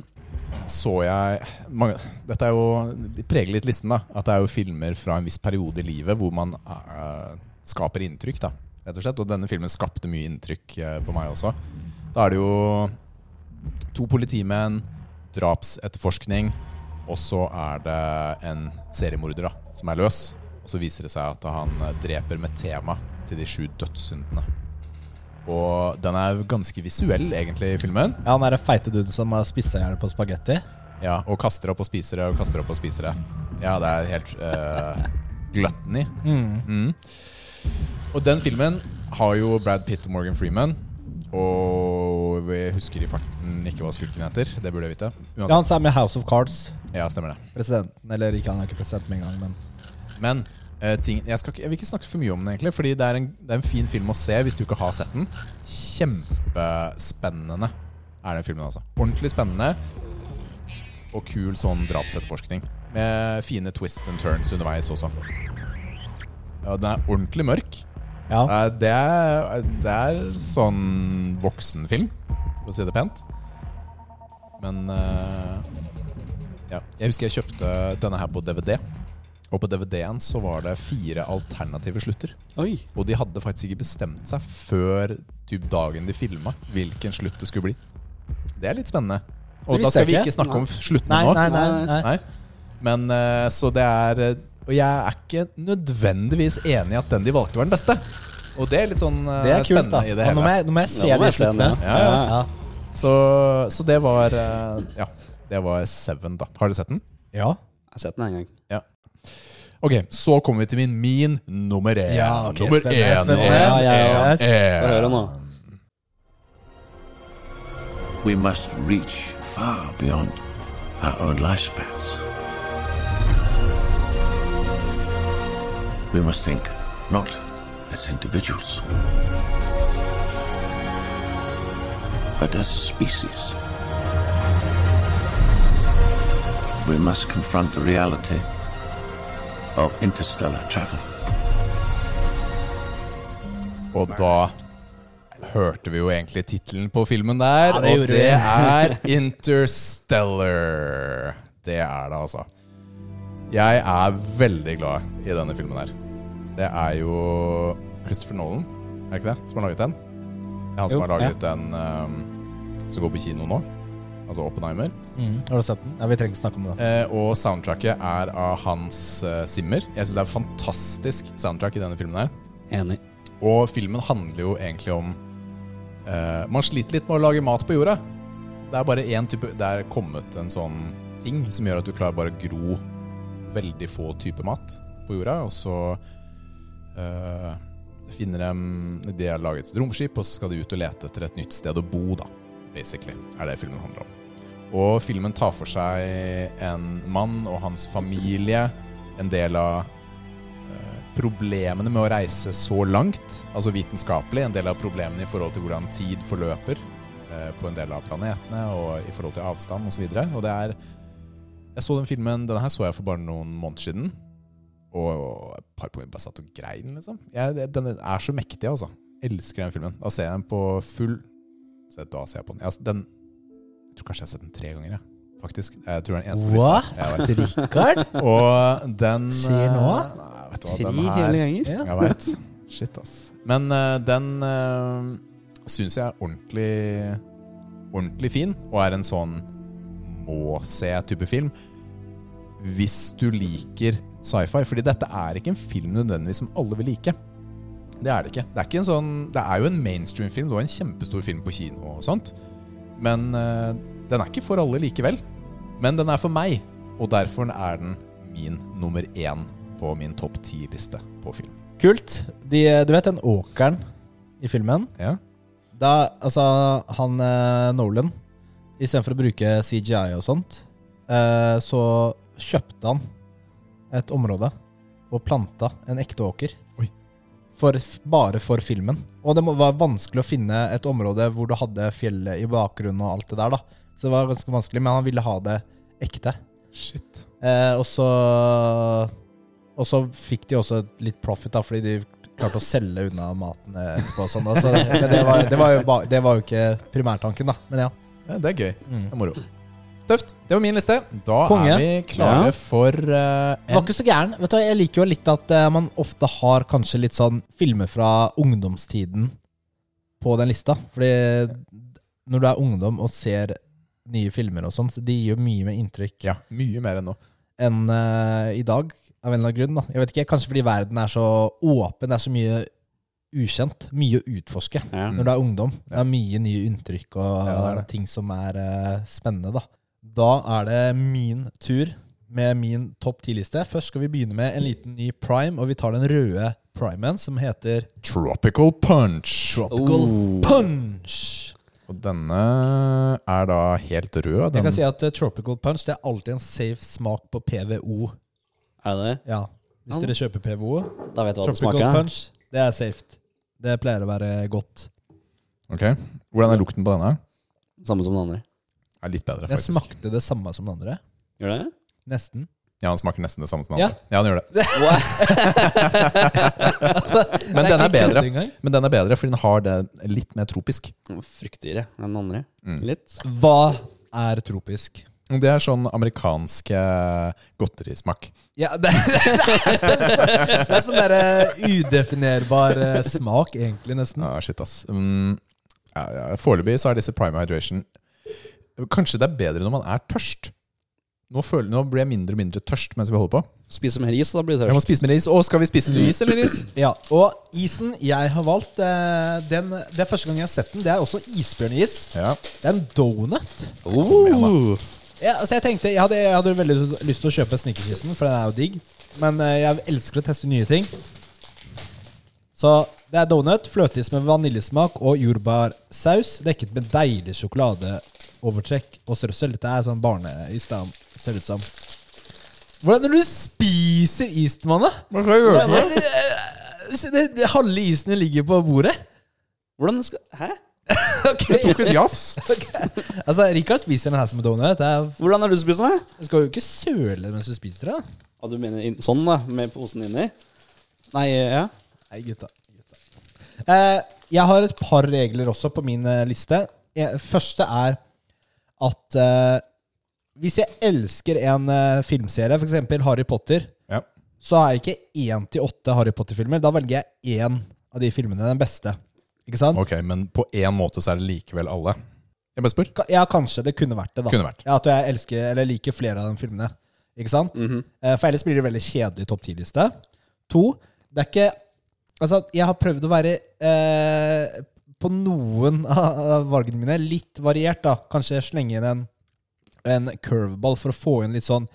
Speaker 3: så jeg mange, Dette er jo preger litt listen, da. At det er jo filmer fra en viss periode i livet hvor man eh, skaper inntrykk, da. Rett og slett. Og denne filmen skapte mye inntrykk eh, på meg også. Da er det jo to politimenn, drapsetterforskning, og så er det en seriemorder da, som er løs. Og så viser det seg at han eh, dreper med tema til de sju dødssyndene. Og den er jo ganske visuell, egentlig, i filmen.
Speaker 1: Ja, han er den feite duden som har spissa i hjel på spagetti.
Speaker 3: Ja, og kaster opp og spiser det, og kaster opp og spiser det. Ja, det er helt uh, gluttony. Mm. Og den filmen har jo Brad Pitt og Morgan Freeman. Og vi husker i farten ikke hva skurken heter. Det burde jeg vite.
Speaker 1: Ja,
Speaker 3: Uansett.
Speaker 1: han som er med i House of Cards.
Speaker 3: Ja, stemmer det.
Speaker 1: Presidenten, eller ikke, han er ikke president med en gang, men
Speaker 3: Men eh, ting, jeg, skal ikke, jeg vil ikke snakke for mye om den, egentlig. Fordi det er, en, det er en fin film å se hvis du ikke har sett den. Kjempespennende er den filmen, altså. Ordentlig spennende og kul sånn drapsetterforskning. Med fine twists and turns underveis også. Ja, den er ordentlig mørk.
Speaker 1: ja.
Speaker 3: Eh, Det er, det er sånn voksenfilm, for å si det pent. Men eh, ja. Jeg husker jeg kjøpte denne her på DVD. Og på DVD-en så var det fire alternative slutter.
Speaker 2: Oi.
Speaker 3: Og de hadde faktisk ikke bestemt seg før typ dagen de filma hvilken slutt det skulle bli. Det er litt spennende. Og
Speaker 1: Det
Speaker 3: da
Speaker 1: visste
Speaker 3: skal vi
Speaker 1: jeg
Speaker 3: ikke
Speaker 1: ikke.
Speaker 3: snakke om sluttene
Speaker 1: Nei,
Speaker 3: nå.
Speaker 1: nei, nei, nei.
Speaker 3: Nei. Men eh, så det er eh, Og jeg er ikke nødvendigvis enig i at den de valgte, var den beste. Og det er litt sånn eh,
Speaker 1: Det er kult, da.
Speaker 3: spennende i det
Speaker 1: Ja, nå,
Speaker 3: hele.
Speaker 1: må jeg, nå må jeg se
Speaker 2: Ja, nå
Speaker 1: de
Speaker 2: må jeg se den,
Speaker 1: sluttene.
Speaker 2: ja.
Speaker 1: Ja.
Speaker 2: Ja,
Speaker 1: Ja.
Speaker 3: Så, så det var eh, Ja, det var Seven, da. Har dere sett den?
Speaker 1: Ja.
Speaker 2: Jeg har sett den en gang.
Speaker 3: Ja. Ok, så kommer vi til min, min nummer én.
Speaker 1: Ja, ok,
Speaker 3: nummer
Speaker 1: spennende,
Speaker 3: én,
Speaker 1: spennende.
Speaker 3: én,
Speaker 1: Ja, ja, ja.
Speaker 3: én,
Speaker 2: Få
Speaker 3: én.
Speaker 2: høre nå.
Speaker 7: We must reach far beyond our own lifespans. We must think not as individuals, but as a species. We must confront the reality of interstellar travel.
Speaker 3: Og da hørte vi jo egentlig tittelen på filmen der,
Speaker 1: Ja, det
Speaker 3: og
Speaker 1: gjorde
Speaker 3: det er Interstellar. Det er det, altså. Jeg er veldig glad i denne filmen her. Det er jo Christopher Nolan, er det ikke det, som har laget den? Det er han som
Speaker 2: Jo,
Speaker 3: har laget den ehm, som går på kino nå, altså Oppenheimer.
Speaker 1: Har du sett den? Ja, Vi trenger ikke snakke om det.
Speaker 3: Eh, og soundtracket er av Hans eh, Zimmer. Jeg syns det er fantastisk soundtrack i denne filmen her.
Speaker 2: Enig.
Speaker 3: Og filmen handler jo egentlig om eh, Man sliter litt med å lage mat på jorda. Det er bare én type Det er kommet en sånn ting som gjør at du klarer bare å gro veldig få typer mat på jorda, og så eh, finner de De har laget et romskip, og så skal de ut og lete etter et nytt sted å bo, da. Basically er det filmen handler om. Og filmen tar for seg en mann og hans familie, en del av problemene med å reise så langt, altså vitenskapelig, en del av problemene i forhold til hvordan tid forløper eh, på en del av planetene, og i forhold til avstand osv. Og det er Jeg så den filmen Denne her så jeg for bare noen måneder siden. Og et par ganger bare satt og grein, liksom. Jeg, det- den er så mektig, altså. Elsker den filmen. Da ser jeg den på full Se, Da ser jeg på den. Jeg, den jeg tror kanskje jeg har sett den tre ganger, jeg. Faktisk. Jeg tror det er den eneste på lista.
Speaker 1: What?
Speaker 3: Jeg vet.
Speaker 1: Rikard?
Speaker 3: Og den
Speaker 1: Skjer nå?
Speaker 3: eh, Nei, vet du hva, den her
Speaker 2: ganger?
Speaker 3: Jeg veit. Shit, ass. Men eh, den uh, syns jeg er ordentlig Ordentlig fin, og er en sånn må-se-type film. Hvis du liker sci-fi. Fordi dette er ikke en film nødvendigvis som alle vil like. Det er det ikke. Det er, ikke en sånn, det er jo en mainstream-film. Det var en kjempestor film på kino og sånt. Men eh, den er ikke for alle likevel. Men den er for meg, og derfor er den min nummer én på min topp ti-liste på film.
Speaker 1: Kult. De, eh, du vet den åkeren i filmen?
Speaker 3: Ja.
Speaker 1: Da, altså, han eh, Nolan Istedenfor å bruke CGI og sånt, eh, så kjøpte han et område og planta en ekte åker.
Speaker 3: Oi.
Speaker 1: For, f- bare for filmen. Og det må- var vanskelig å finne et område hvor du hadde fjellet i bakgrunnen og alt det der, da. Så det var ganske vanskelig, men han ville ha det ekte.
Speaker 3: Shit.
Speaker 1: Eh, og så Og så fikk de også litt profit, da, fordi de klarte å selge unna maten etterpå. Og sånn, da. Så det, men det, var, det, var jo, ba- det var jo ikke primærtanken, da. Men ja.
Speaker 3: Ja, det er gøy. Det er moro. Tøft. Det var min liste. Da
Speaker 1: Konge.
Speaker 3: er vi klare
Speaker 2: Ja.
Speaker 3: for eh,
Speaker 1: Det var
Speaker 3: en
Speaker 1: ikke så gæren. Vet du, hva, Jeg liker jo litt at eh, man ofte har kanskje litt sånn filmer fra ungdomstiden på den lista. Fordi når du er ungdom og ser nye filmer og sånn, så de gir jo mye mer inntrykk
Speaker 3: Ja, mye mer enn nå.
Speaker 1: enn eh, i dag, av en eller annen grunn. Da. Jeg vet ikke, Kanskje fordi verden er så åpen, det er så mye ukjent. Mye å utforske
Speaker 2: Ja.
Speaker 1: når du er ungdom. Det er mye nye inntrykk og
Speaker 3: Ja, det er det.
Speaker 1: ting som er eh, spennende. Da. da er det min tur med min topp ti-liste. Først skal vi begynne med en liten ny prime, og vi tar den røde primen, som heter
Speaker 3: Tropical Punch.
Speaker 1: Tropical
Speaker 3: Oh.
Speaker 1: Punch.
Speaker 3: Og denne er da helt rød.
Speaker 1: Jeg
Speaker 3: Den,
Speaker 1: kan si at eh, Tropical Punch det er alltid en safe smak på PVO.
Speaker 2: Er det det?
Speaker 1: Ja, Hvis dere kjøper PVO,
Speaker 2: Da vet du hva det
Speaker 1: Tropical
Speaker 2: smaker.
Speaker 1: punch, det er safe. Det pleier å være godt.
Speaker 3: Ok. Hvordan er lukten på denne?
Speaker 2: Samme som den andre.
Speaker 3: Er litt bedre,
Speaker 1: Jeg
Speaker 3: faktisk.
Speaker 1: smakte det samme som den andre.
Speaker 2: Gjør det?
Speaker 1: Nesten.
Speaker 3: Ja, Han smaker nesten det samme som den
Speaker 1: Ja.
Speaker 3: andre. Ja, han gjør det.
Speaker 1: Det
Speaker 3: Men den er
Speaker 1: ikke kødd
Speaker 3: bedre.
Speaker 1: engang.
Speaker 3: Men den er bedre, fordi den har det litt mer tropisk.
Speaker 2: Fruktigere enn den andre.
Speaker 1: Mm.
Speaker 2: Litt.
Speaker 1: Hva er tropisk?
Speaker 3: Det er sånn amerikanske godterismak.
Speaker 1: Ja, det, det, det, er, det er sånn derre udefinerbar eh, smak, egentlig, nesten.
Speaker 3: Ah, shit, ass. Mm, ja, ja. Foreløpig så er disse prime hydration Kanskje det er bedre når man er tørst. Nå, føler, nå blir jeg mindre og mindre tørst mens vi holder på.
Speaker 2: Spise mer is, da blir det
Speaker 3: Jeg må
Speaker 2: tørst.
Speaker 3: spise mer is. Å, skal vi spise is eller is?
Speaker 1: Ja, Og isen jeg har valgt, eh, den, det er første gang jeg har sett den. Det er også isbjørnis.
Speaker 3: Ja.
Speaker 1: Det er en donut.
Speaker 2: Oh.
Speaker 1: Ja, altså jeg tenkte, jeg hadde, jeg hadde veldig lyst til å kjøpe snikkerkisten, for den er jo digg. Men eh, jeg elsker å teste nye ting. Så det er donut, fløteis med vaniljesmak og jordbærsaus, dekket med deilig sjokoladeovertrekk og strøssel. Dette er sånn barneis, da, ser det ut som. Hvordan er det du spiser isen, mann? da?
Speaker 3: Hva skal jeg gjøre?
Speaker 1: Hvordan er det- eh, se, det- det- Halve isen ligger på bordet.
Speaker 2: Hvordan skal Hæ?
Speaker 3: Jeg tok et jafs.
Speaker 1: Altså, Rikard spiser den her som en donut. Det er,
Speaker 2: Hvordan har du spist den?
Speaker 1: du skal jo ikke søle mens du spiser det. da.
Speaker 2: Ah, du mener inn- sånn, da? Med posen inni? Nei, ja.
Speaker 1: Nei, gutta. gutta. Eh, Jeg har et par regler også på min eh, liste. Eh, Første er at eh, hvis jeg elsker en eh, filmserie, f.eks. Harry Potter,
Speaker 3: Ja.
Speaker 1: så er ikke én til åtte Harry Potter-filmer. Da velger jeg én av de filmene, den beste. Ikke sant?
Speaker 3: Ok, men på én måte så er det likevel alle. Jeg bare spør.
Speaker 1: Ka- Ja, kanskje det kunne vært det, da.
Speaker 3: Kunne vært.
Speaker 1: Ja, At jeg elsker, eller liker flere av de filmene. Ikke sant?
Speaker 3: Mhm.
Speaker 1: Eh, For ellers blir det veldig kjedelig topp ti-liste. To, det er ikke Altså, jeg har prøvd å være eh, på noen av av valgene mine litt variert, da. Kanskje slenge inn en, en curveball for å få inn litt sånn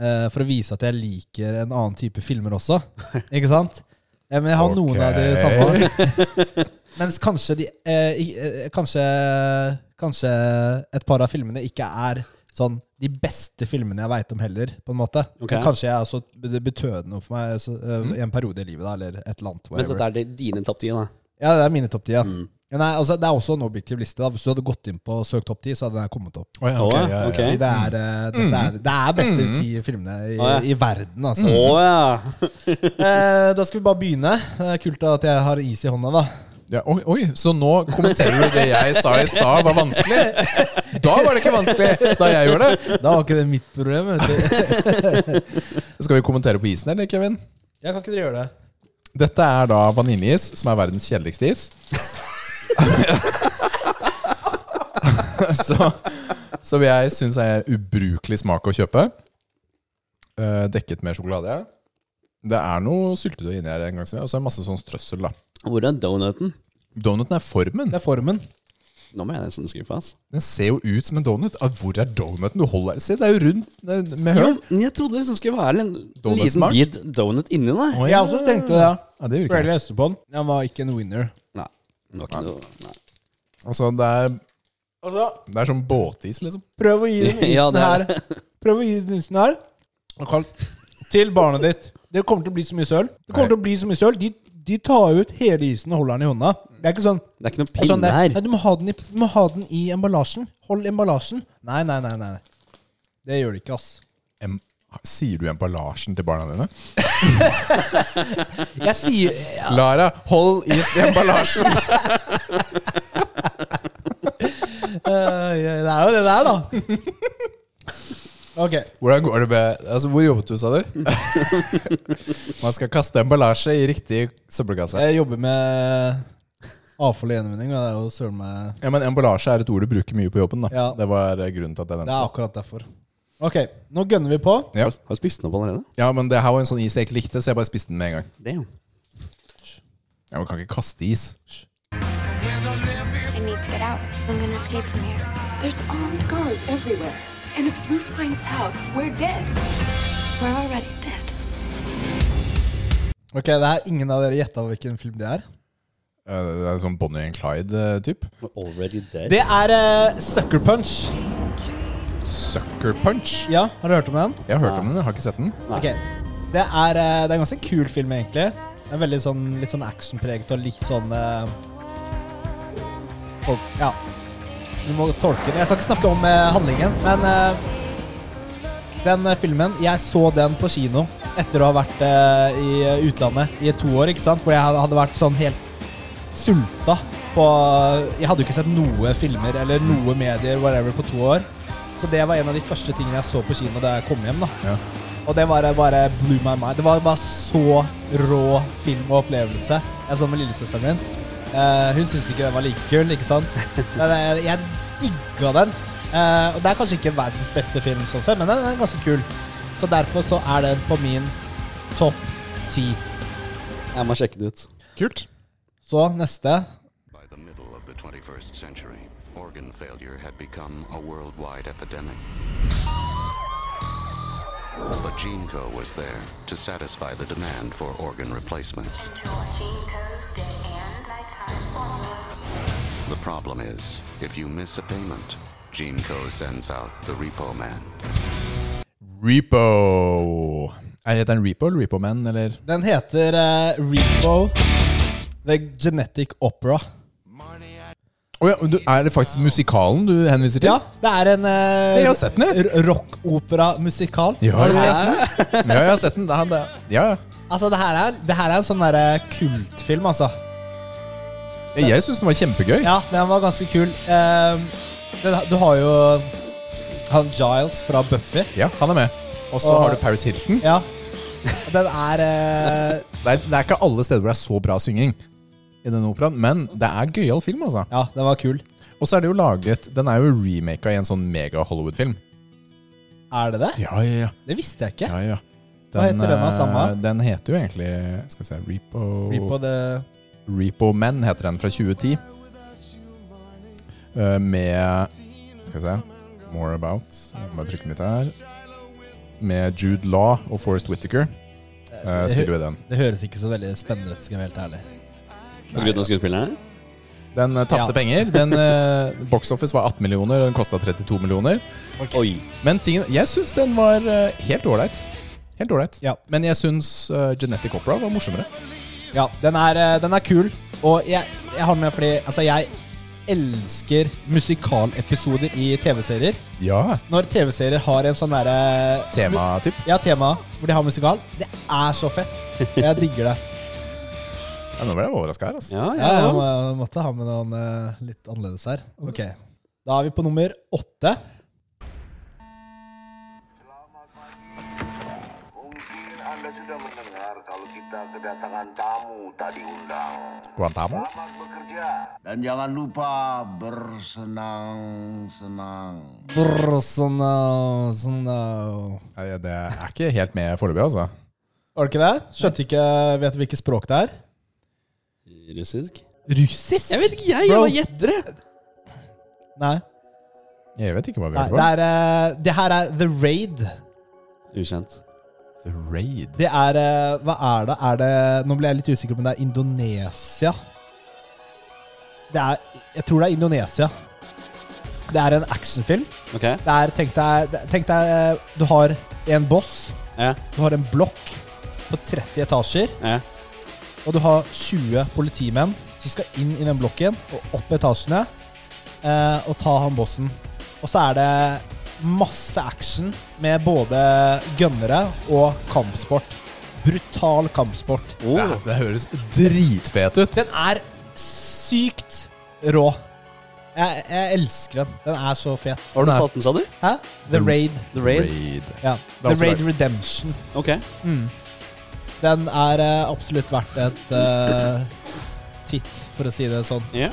Speaker 1: eh, For å vise at jeg liker en annen type filmer også. Ikke sant? Eh, Men jeg har noen av de
Speaker 3: Ok.
Speaker 1: samme. Mens kanskje de eh, i- eh, Kanskje Kanskje et par av filmene ikke er sånn de beste filmene jeg veit om heller, på en måte.
Speaker 2: Ok. Mm.
Speaker 1: Men kanskje jeg også det betød noe for meg så, eh, i en periode i livet, da, eller et eller annet.
Speaker 2: Men
Speaker 1: whatever.
Speaker 2: dette er det Mm. dine topp 10, da.
Speaker 1: Ja, det er mine topp ti, ja. Ja, Nei, altså, det er også en objektiv liste. da Hvis du hadde gått inn på søk topp ti, så hadde den kommet opp.
Speaker 3: Å ja, ok,
Speaker 2: Å,
Speaker 3: ja, ja,
Speaker 2: ok.
Speaker 3: ja.
Speaker 1: Fordi det er, eh, dette er, det er beste ti filmene i,
Speaker 2: ja. Mm.
Speaker 1: i verden, altså.
Speaker 2: Å ja!
Speaker 1: Eh, da skal vi bare begynne. Det er kult at jeg har is i hånda, da.
Speaker 3: Ja, oi, oi, så nå kommenterer du det jeg sa i stad var vanskelig? Da var det ikke vanskelig da jeg gjorde det.
Speaker 1: Da var ikke det mitt problem. Vet du.
Speaker 3: Skal vi kommentere på isen, eller, Kevin?
Speaker 1: Ja, kan ikke dere gjøre det?
Speaker 3: Dette er da vaniljeis, som er verdens kjedeligste is. så, som jeg syns er ubrukelig smak å kjøpe. Eh, dekket med sjokolade. Det er noe syltetøy inni her, en gang som jeg, og så er det masse sånn strøssel. da
Speaker 2: Hvor er donuten?
Speaker 3: Donuten er formen.
Speaker 1: Det er formen.
Speaker 2: Nå må jeg nesten skuffe, ass.
Speaker 3: Den ser jo ut som en donut. Ah, Hvor er donuten du holder? Se, det er jo rundt det er med høl.
Speaker 2: Men jeg trodde det liksom skulle være en liten
Speaker 3: Donutsmak?
Speaker 2: bit donut inni der.
Speaker 3: Å,
Speaker 1: Jeg også tenkte det.
Speaker 3: Ja, det
Speaker 1: For
Speaker 3: virker.
Speaker 1: jeg leste på den. Den var ikke en winner.
Speaker 2: Nei. Det var ikke noe Nei.
Speaker 3: Altså, det er,
Speaker 1: Altså,
Speaker 3: det er sånn båtis, liksom.
Speaker 1: prøv å gi den isen
Speaker 2: Ja, det er
Speaker 1: her Prøv å gi den isen her til barnet ditt. Det kommer til å bli så mye søl. Det kommer til å bli så mye søl. De, de tar ut hele isen og holder den i hånda. Det er ikke sånn
Speaker 2: Det er ikke
Speaker 1: det
Speaker 2: noen
Speaker 1: er sånn
Speaker 2: pinne
Speaker 1: der,
Speaker 2: her.
Speaker 1: Nei, du, må ha den i, du må ha den i emballasjen. Hold emballasjen. Nei, nei, nei. nei. Det gjør de ikke, ass.
Speaker 3: Em, sier du emballasjen til barna dine?
Speaker 1: Jeg sier
Speaker 3: Lara, hold is i emballasjen!
Speaker 1: Eh, Det er jo det det er, da. Ok.
Speaker 3: Hvordan går det med Altså, hvor jobbet du, sa du? Man skal kaste emballasje i riktig søppelkasse.
Speaker 1: Jeg jobber med avfall og gjenvinning. og Det er jo søren meg
Speaker 3: Ja, men emballasje er et ord du bruker mye på jobben, da.
Speaker 1: Ja.
Speaker 3: Det var eh, grunnen til at jeg
Speaker 1: Det
Speaker 3: nevnte
Speaker 1: er akkurat derfor. Ok, nå gønner vi på.
Speaker 3: ja.
Speaker 2: Har du spist den opp allerede?
Speaker 3: ja, men det her var en sånn is jeg ikke likte, så jeg bare spiste den med en gang.
Speaker 2: Damn.
Speaker 3: Ja, Man kan ikke kaste is.
Speaker 11: I need to get out. I'm gonna escape from here.
Speaker 8: There's armed guards everywhere. And if Blue finds out, we're dead.
Speaker 11: We're already dead.
Speaker 1: Ok, det er Ingen av dere gjetta hvilken film det er?
Speaker 3: Eh, Det er sånn Bonnie and Clyde-type.
Speaker 2: We're already dead.
Speaker 1: Det er eh, Sucker Punch.
Speaker 3: Sucker Punch.
Speaker 1: Ja, Har du hørt om den?
Speaker 3: Jeg har hørt om den, jeg har ikke sett den.
Speaker 1: Ok, Det er, eh, det er en ganske kul film, egentlig. Det er veldig sånn, Litt sånn actionpreget og litt sånn eh, folk, Ja. Du må tolke den. Jeg skal ikke snakke om eh, handlingen, men eh, den eh, filmen Jeg så den på kino etter å ha vært eh, i eh, utlandet i to år, ikke sant? Hvor jeg hadde vært sånn helt sulta på Jeg hadde jo ikke sett noe filmer eller noe medier whatever på to år. Så det var en av de første tingene jeg så på kino da jeg kom hjem. da
Speaker 3: Ja.
Speaker 1: og det bare, bare blew my mind. Det var bare så rå film og opplevelse. Jeg så den med lillesøsteren min. Eh, hun syntes ikke den var like kul, ikke sant? Men eh, jeg, jeg digga den. Eh, og det er kanskje ikke verdens beste film, sånn sett, men den er ganske kul. Så derfor så er den på min topp ti.
Speaker 2: Jeg må sjekke det ut.
Speaker 3: Kult.
Speaker 1: Så neste
Speaker 7: By the middle of the 21st century, organ failure had become a worldwide epidemic. But GeneCo was there to satisfy the demand for organ replacements. The problem is, if you miss a payment, GeneCo sends out the repo man.
Speaker 3: Repo. Er det en repo eller repo man, eller?
Speaker 1: Den heter eh, Repo The Genetic Opera.
Speaker 3: Å ja, du, er det faktisk musikalen du henviser til?
Speaker 1: Ja, det er en
Speaker 3: Jeg har
Speaker 1: uh,
Speaker 3: sett den, jeg.
Speaker 1: rockopera-musikal.
Speaker 3: Ja,
Speaker 1: Har du
Speaker 3: ja.
Speaker 1: sett den?
Speaker 3: Ja, jeg har sett den. Det er han, det. Ja, ja.
Speaker 1: eh, Altså, det her er, det her er en sånn derre kultfilm, altså.
Speaker 3: Jeg syns den var kjempegøy.
Speaker 1: Ja, den var ganske kul. Ehm, den, ha- du har jo han Giles fra Buffy.
Speaker 3: Ja, han er med. Og så
Speaker 1: Og-
Speaker 3: har du Paris Hilton.
Speaker 1: Ja. Den er eh,
Speaker 3: Det, er, det er ikke alle steder hvor det er så bra synging i denne operaen, men det er gøyal film, altså.
Speaker 1: Ja, den var kul.
Speaker 3: Og så er det jo laget Den er jo remaka i en sånn mega Hollywood-film.
Speaker 1: Er det det?
Speaker 3: Ja, ja, ja.
Speaker 1: Det visste jeg ikke.
Speaker 3: ja, ja.
Speaker 1: Hva heter den da,
Speaker 3: eh,
Speaker 1: samme?
Speaker 3: Den heter jo egentlig Skal vi se Repo
Speaker 1: Repo the
Speaker 3: Repo Men heter den fra 2010. Eh, med Skal vi se More About. Jeg må bare trykke mitt her. Med Jude Law og Forest Whittaker eh, spiller vi den.
Speaker 1: Det høres ikke så veldig spennende ut, skal jeg være helt ærlig.
Speaker 2: På grunn av skuespillerne?
Speaker 3: Den eh, tapte
Speaker 1: Ja.
Speaker 3: penger. Den eh, Box Office var 18 millioner, og den kosta 32 millioner.
Speaker 2: Oi.
Speaker 3: Men tingen, jeg syns den var eh, helt ålreit. Helt ålreit.
Speaker 1: Ja.
Speaker 3: Men jeg syns eh, Genetic Opera var morsommere.
Speaker 1: Ja, den er, eh, den er kul. Og jeg, jeg har den med fordi altså, jeg elsker musikalepisoder i TV-serier.
Speaker 3: Ja.
Speaker 1: Når TV-serier har en sånn derre
Speaker 3: Tematyp.
Speaker 1: Ja, tema hvor de har musikal. Det er så fett. Jeg digger det.
Speaker 3: Ja, nå ble jeg overraska her, altså.
Speaker 2: Ja, ja,
Speaker 1: Ja, jeg
Speaker 2: ja.
Speaker 1: må, jeg måtte ha med noen eh, litt annerledes her. Ok. Da er vi på nummer åtte.
Speaker 3: Guantamo.
Speaker 12: Dan jangan lupa bersenang-senang.
Speaker 1: Brr, sånn, eh, sånn, eh.
Speaker 3: Nei, det er ikke helt med foreløpig, altså.
Speaker 1: Var det ikke det? Skjønte ikke Vet du hvilket språk det er?
Speaker 2: Russisk?
Speaker 1: Russisk?
Speaker 2: Jeg vet ikke, jeg!
Speaker 1: Bro.
Speaker 2: Jeg gjetter det!
Speaker 1: Nei.
Speaker 3: Jeg vet ikke hva vi
Speaker 1: Nei
Speaker 3: hører
Speaker 1: det,
Speaker 3: på.
Speaker 1: er, eh, det her er The Raid.
Speaker 2: Ukjent.
Speaker 3: The Raid.
Speaker 1: Det er eh, Hva er det? Er det Nå ble jeg litt usikker på om det er Indonesia. Det er Jeg tror det er Indonesia. Det er en actionfilm.
Speaker 2: Ok.
Speaker 1: Det er Tenk deg, tenk deg eh, Du har en boss.
Speaker 2: Ja,
Speaker 1: Du har en blokk på 30 etasjer.
Speaker 2: ja.
Speaker 1: Og du har 20 politimenn som skal inn i den blokken og opp etasjene eh, og ta han bossen. Og så er det masse action med både gønnere og kampsport. Brutal kampsport.
Speaker 3: Det, er- det høres dritfet ut.
Speaker 1: Den er sykt rå. Jeg, jeg elsker den. Den er så fet.
Speaker 2: Har du kalt den, sa du?
Speaker 1: Hæ? The Raid.
Speaker 2: The Raid?
Speaker 3: Raid.
Speaker 1: Ja.
Speaker 3: er
Speaker 1: The
Speaker 3: også
Speaker 1: Raid
Speaker 3: verdt.
Speaker 1: Redemption.
Speaker 2: Ok.
Speaker 1: Den er eh, absolutt verdt et eh, titt, for å si det sånn.
Speaker 2: Ja.